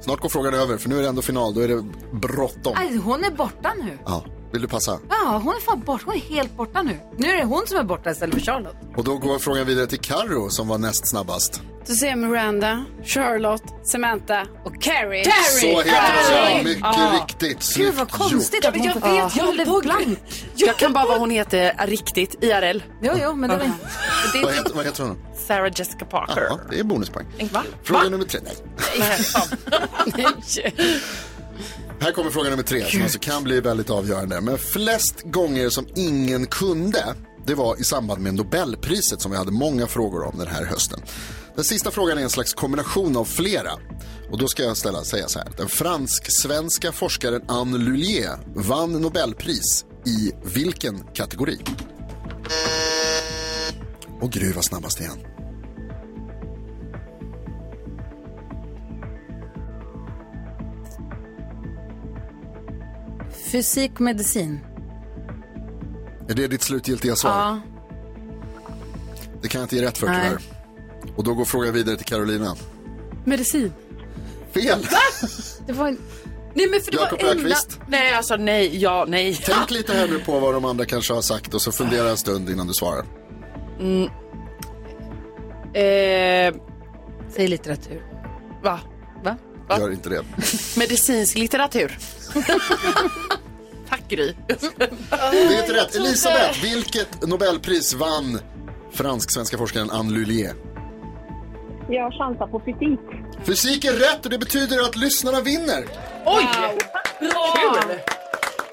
Speaker 3: Snart går frågan över, för nu är det ändå final. Då är det bråttom.
Speaker 1: Aj, hon är borta nu.
Speaker 3: Ja, vill du passa?
Speaker 1: Ja, hon är fan borta. Hon är helt borta nu. Nu är det hon som är borta istället för Charlotte.
Speaker 3: Och då går frågan vidare till Carro som var näst snabbast.
Speaker 4: Du ser Miranda, Charlotte, Samantha och Carrie.
Speaker 3: Så heter hon, mycket
Speaker 4: Ja.
Speaker 3: riktigt.
Speaker 1: Ah. Gud
Speaker 3: Snyggt
Speaker 1: vad konstigt
Speaker 3: gjort.
Speaker 1: att hon
Speaker 4: Jag vet, jag
Speaker 1: blev blank.
Speaker 13: Jag kan bara vad hon heter riktigt, IRL.
Speaker 1: Jo, jo, men det var
Speaker 3: Vad heter, vad heter hon?
Speaker 13: Sarah Jessica Parker.
Speaker 3: Jaha, det är bonuspoäng.
Speaker 13: Va?
Speaker 3: Fråga nummer tre. Nej. Här kommer fråga nummer tre som alltså kan bli väldigt avgörande. Men flest gånger som ingen kunde, det var i samband med Nobelpriset som vi hade många frågor om den här hösten. Den sista frågan är en slags kombination av flera. Och då ska jag ställa, säga så här. Den fransk-svenska forskaren Anne Lullier vann Nobelpris i vilken kategori? Och Gry var snabbast igen.
Speaker 1: Fysik och medicin.
Speaker 3: Är det ditt slutgiltiga svar?
Speaker 1: Ja.
Speaker 3: Det kan jag inte ge rätt för
Speaker 1: Nej.
Speaker 3: tyvärr. Och då går frågan vidare till Carolina.
Speaker 13: Medicin.
Speaker 3: Fel!
Speaker 1: Det var en...
Speaker 13: Nej, men för det
Speaker 3: Jakob
Speaker 13: var enda...
Speaker 3: Öqvist.
Speaker 13: Nej, alltså nej, ja, nej.
Speaker 3: Tänk lite här nu på vad de andra kanske har sagt och så fundera en stund innan du svarar.
Speaker 13: Mm. Eh,
Speaker 1: Säg litteratur.
Speaker 13: Va?
Speaker 1: Va?
Speaker 3: Gör inte det.
Speaker 13: Medicinsk litteratur. Tack Gry.
Speaker 3: Det är inte rätt. Elisabeth, vilket Nobelpris vann fransk-svenska forskaren Anne Lullier?
Speaker 21: Jag chansar på fysik.
Speaker 3: Fysik är rätt och det betyder att lyssnarna vinner.
Speaker 13: Oj! Bra! Kul!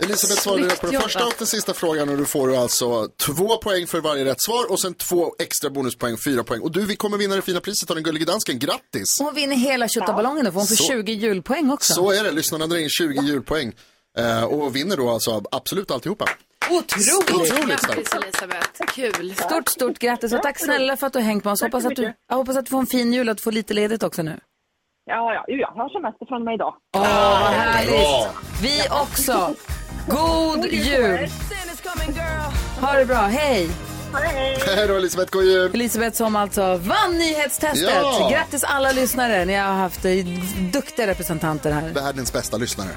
Speaker 3: Elisabeth svarade
Speaker 13: Snyggt
Speaker 3: rätt på den första
Speaker 13: jobbat.
Speaker 3: och den sista frågan och du får alltså två poäng för varje rätt svar och sen två extra bonuspoäng, fyra poäng. Och du, vi kommer vinna det fina priset av den gullige dansken. Grattis!
Speaker 1: Hon vinner hela tjottaballongen och hon får
Speaker 3: Så-
Speaker 1: 20 julpoäng också.
Speaker 3: Så är det, lyssnarna drar in 20 julpoäng eh, och vinner då alltså absolut alltihopa.
Speaker 1: Otroligt!
Speaker 3: Otroligt starkt.
Speaker 4: Grattis Elisabeth, kul.
Speaker 1: Stort, stort grattis och tack snälla för att du har hängt med oss.
Speaker 4: Tack så
Speaker 1: Hoppas att du,
Speaker 4: mycket.
Speaker 1: jag hoppas att du får en fin jul och att du får lite ledigt också nu.
Speaker 21: Ja, ja, jag har semester från mig idag.
Speaker 1: Åh, vad härligt! Vi också. God jul! Ha det bra, hej!
Speaker 3: Hej då Elisabeth, god jul!
Speaker 1: Elisabeth som alltså vann nyhetstestet.
Speaker 3: Ja.
Speaker 1: Grattis alla lyssnare, ni har haft eh, duktiga representanter här.
Speaker 3: Världens bästa lyssnare.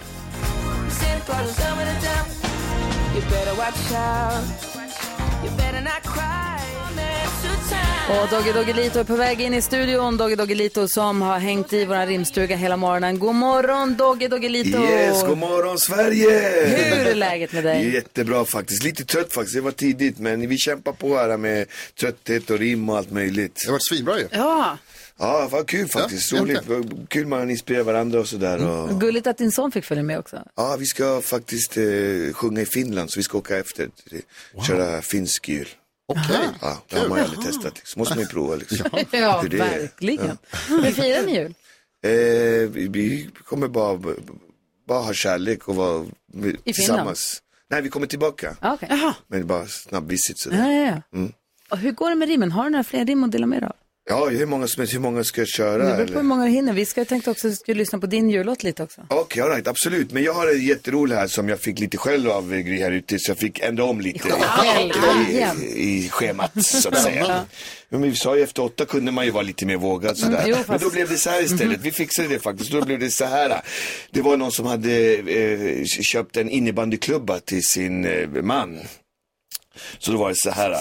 Speaker 1: Och Dogge Doggelito är på väg in i studion. Dogge Doggelito som har hängt i vår rimstuga hela morgonen. God morgon Dogge Doggelito!
Speaker 6: Yes, god morgon Sverige!
Speaker 1: Hur är läget med dig?
Speaker 6: Jättebra faktiskt. Lite trött faktiskt, det var tidigt men vi kämpar på här med trötthet och rim och allt möjligt. Det
Speaker 3: har varit svinbra ju.
Speaker 4: Ja.
Speaker 6: Ja, vad kul faktiskt.
Speaker 1: Ja, Mm.
Speaker 6: Roligt. Kul man inspirerar varandra och sådär. Och...
Speaker 1: Gulligt att din son fick följa med också.
Speaker 6: Ja, vi ska faktiskt eh, sjunga i Finland så vi ska åka efter. till- Köra finsk jul.
Speaker 3: Okej,
Speaker 6: Ja, det har man ju aldrig testat. Liksom. måste man ju prova liksom.
Speaker 1: Ja,
Speaker 6: Hur det är.
Speaker 1: verkligen.
Speaker 6: Ja.
Speaker 1: Hur firar ni jul?
Speaker 6: Eh, vi, vi kommer bara, bara ha kärlek och vara med- tillsammans. Nej, vi kommer tillbaka.
Speaker 1: Okay.
Speaker 6: Men bara snabb visit sådär.
Speaker 1: Ja, ja, ja.
Speaker 6: Mm.
Speaker 1: Och hur går det med rimmen? Har du några fler rim att dela med dig av?
Speaker 6: Ja, hur många som helst, hur många ska jag
Speaker 1: Det
Speaker 6: köra?
Speaker 1: beror
Speaker 6: eller?
Speaker 1: på hur många du hinner. Vi ska, jag tänkte också att vi skulle lyssna på din jullåt lite också.
Speaker 6: Okej, all right, absolut. Men jag har en jätterolig här som jag fick lite själv av eh, Gry här ute, så jag fick ändra om lite i,
Speaker 1: igen.
Speaker 6: i, i schemat, så att
Speaker 1: Ja.
Speaker 6: säga. Men vi sa ju efter åtta kunde man ju vara lite mer vågad sådär.
Speaker 1: Mm, jo,
Speaker 6: Men då
Speaker 1: fast- Mhm.
Speaker 6: blev det så här istället, vi fixade det faktiskt. Då blev det så här. Det var någon som hade eh, köpt en innebandyklubba till sin eh, man. Så då var det så här.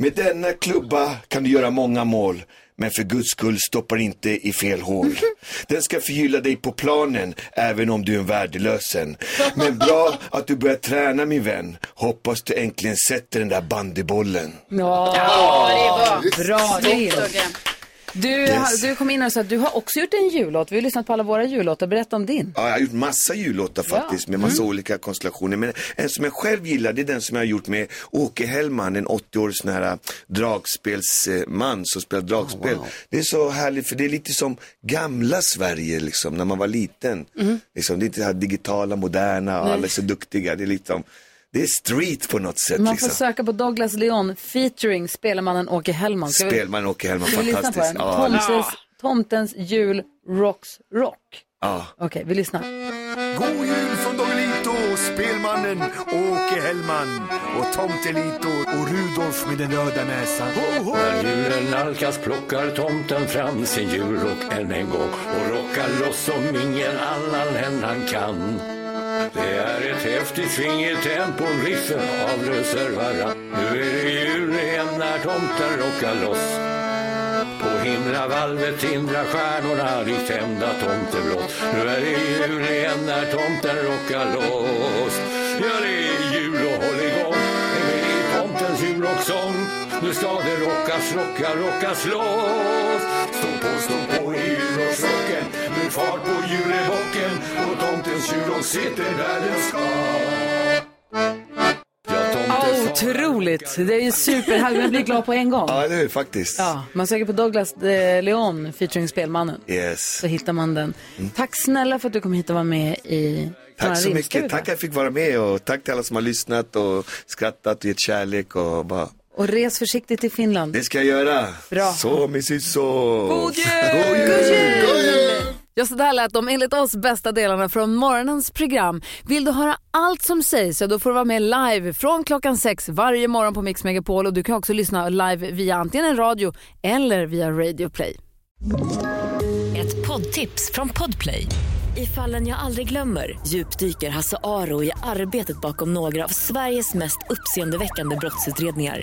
Speaker 6: Med denna klubba kan du göra många mål. Men för guds skull stoppa den inte i fel hål. Den ska förgylla dig på planen även om du är en värdelösen. Men bra att du börjar träna min vän. Hoppas du äntligen sätter den där bandybollen.
Speaker 1: Ja,
Speaker 6: Ja, det
Speaker 1: bra
Speaker 6: var
Speaker 1: rim. Du,
Speaker 6: Yes.
Speaker 1: du kom in och sa att du har också gjort en jullåt. Vi har lyssnat på alla våra jullåtar. Berätta om din.
Speaker 6: Ja, jag har gjort massa jullåtar faktiskt med massa olika konstellationer. Men en som jag själv gillar det är den som jag har gjort med Åke Hellman, en 80-årig sån här äh, dragspelsman som spelar dragspel. Det är så härligt för det är lite som gamla Sverige liksom, när man var liten.
Speaker 10: Mm.
Speaker 6: Liksom, det är inte det här digitala, moderna och
Speaker 1: Nej.
Speaker 6: alla är så duktiga. Det är, liksom, det är street på något sätt.
Speaker 1: Man får
Speaker 6: liksom.
Speaker 1: söka på Douglas Leon featuring spelmannen Åke Hellman. Ska vi-
Speaker 6: Spelman Åke Hellman,
Speaker 1: Ska vi lyssna på
Speaker 6: fantastiskt.
Speaker 1: den?
Speaker 6: Ja,
Speaker 1: Tomtes, tomtens jul rocks rock.
Speaker 6: ja.
Speaker 1: Okej, vi lyssnar.
Speaker 22: God jul från Doggelito, spelmannen Åke Hellman och Tomtelito och Rudolf med den röda näsan. Ho, ho!
Speaker 23: När julen nalkas plockar tomten fram sin julrock än en gång och rockar loss som ingen annan än han kan. Det är ett häftigt svingigt tempo, riffen avlöser varann. Nu är det jul igen när tomten rockar loss. På himlavalvet tindrar stjärnorna likt tända tomteblås. Nu är det jul igen när tomten rockar loss. Ja, det är jul och håll igång. Det är med i tomtens julrocksång. Nu ska det rockas, rocka, rockas loss. Stå på, stå på i julrocksrocken. Nu far på julebocken. Och tomtens julrock sitter där den ska.
Speaker 1: Oh, otroligt! Det är ju superhärligt. Man blir glad på en gång.
Speaker 6: ja, eller hur, faktiskt.
Speaker 1: Ja, man söker på Douglas eh, Leon featuring Spelmannen.
Speaker 6: Yes. Mm.
Speaker 1: Så hittar man den. Tack snälla för att du kom hit och var med i våran
Speaker 6: Tack så
Speaker 1: rimstuga.
Speaker 6: mycket. Tack att jag fick vara med och tack till alla som har lyssnat och skrattat och gett kärlek och bara,
Speaker 1: Och res försiktigt till Finland.
Speaker 6: det ska jag göra.
Speaker 1: Bra.
Speaker 6: Så, mysigt så.
Speaker 1: God jul! God jul! Ja, så där lät de enligt oss bästa delarna från morgonens program. Vill du höra allt som sägs så då får du vara med live från klockan sex varje morgon på Mix Megapol och du kan också lyssna live via antingen en radio eller via Radio Play.
Speaker 5: Ett poddtips från Podplay. I fallen jag aldrig glömmer djupdyker Hasse Aro i arbetet bakom några av Sveriges mest uppseendeväckande brottsutredningar.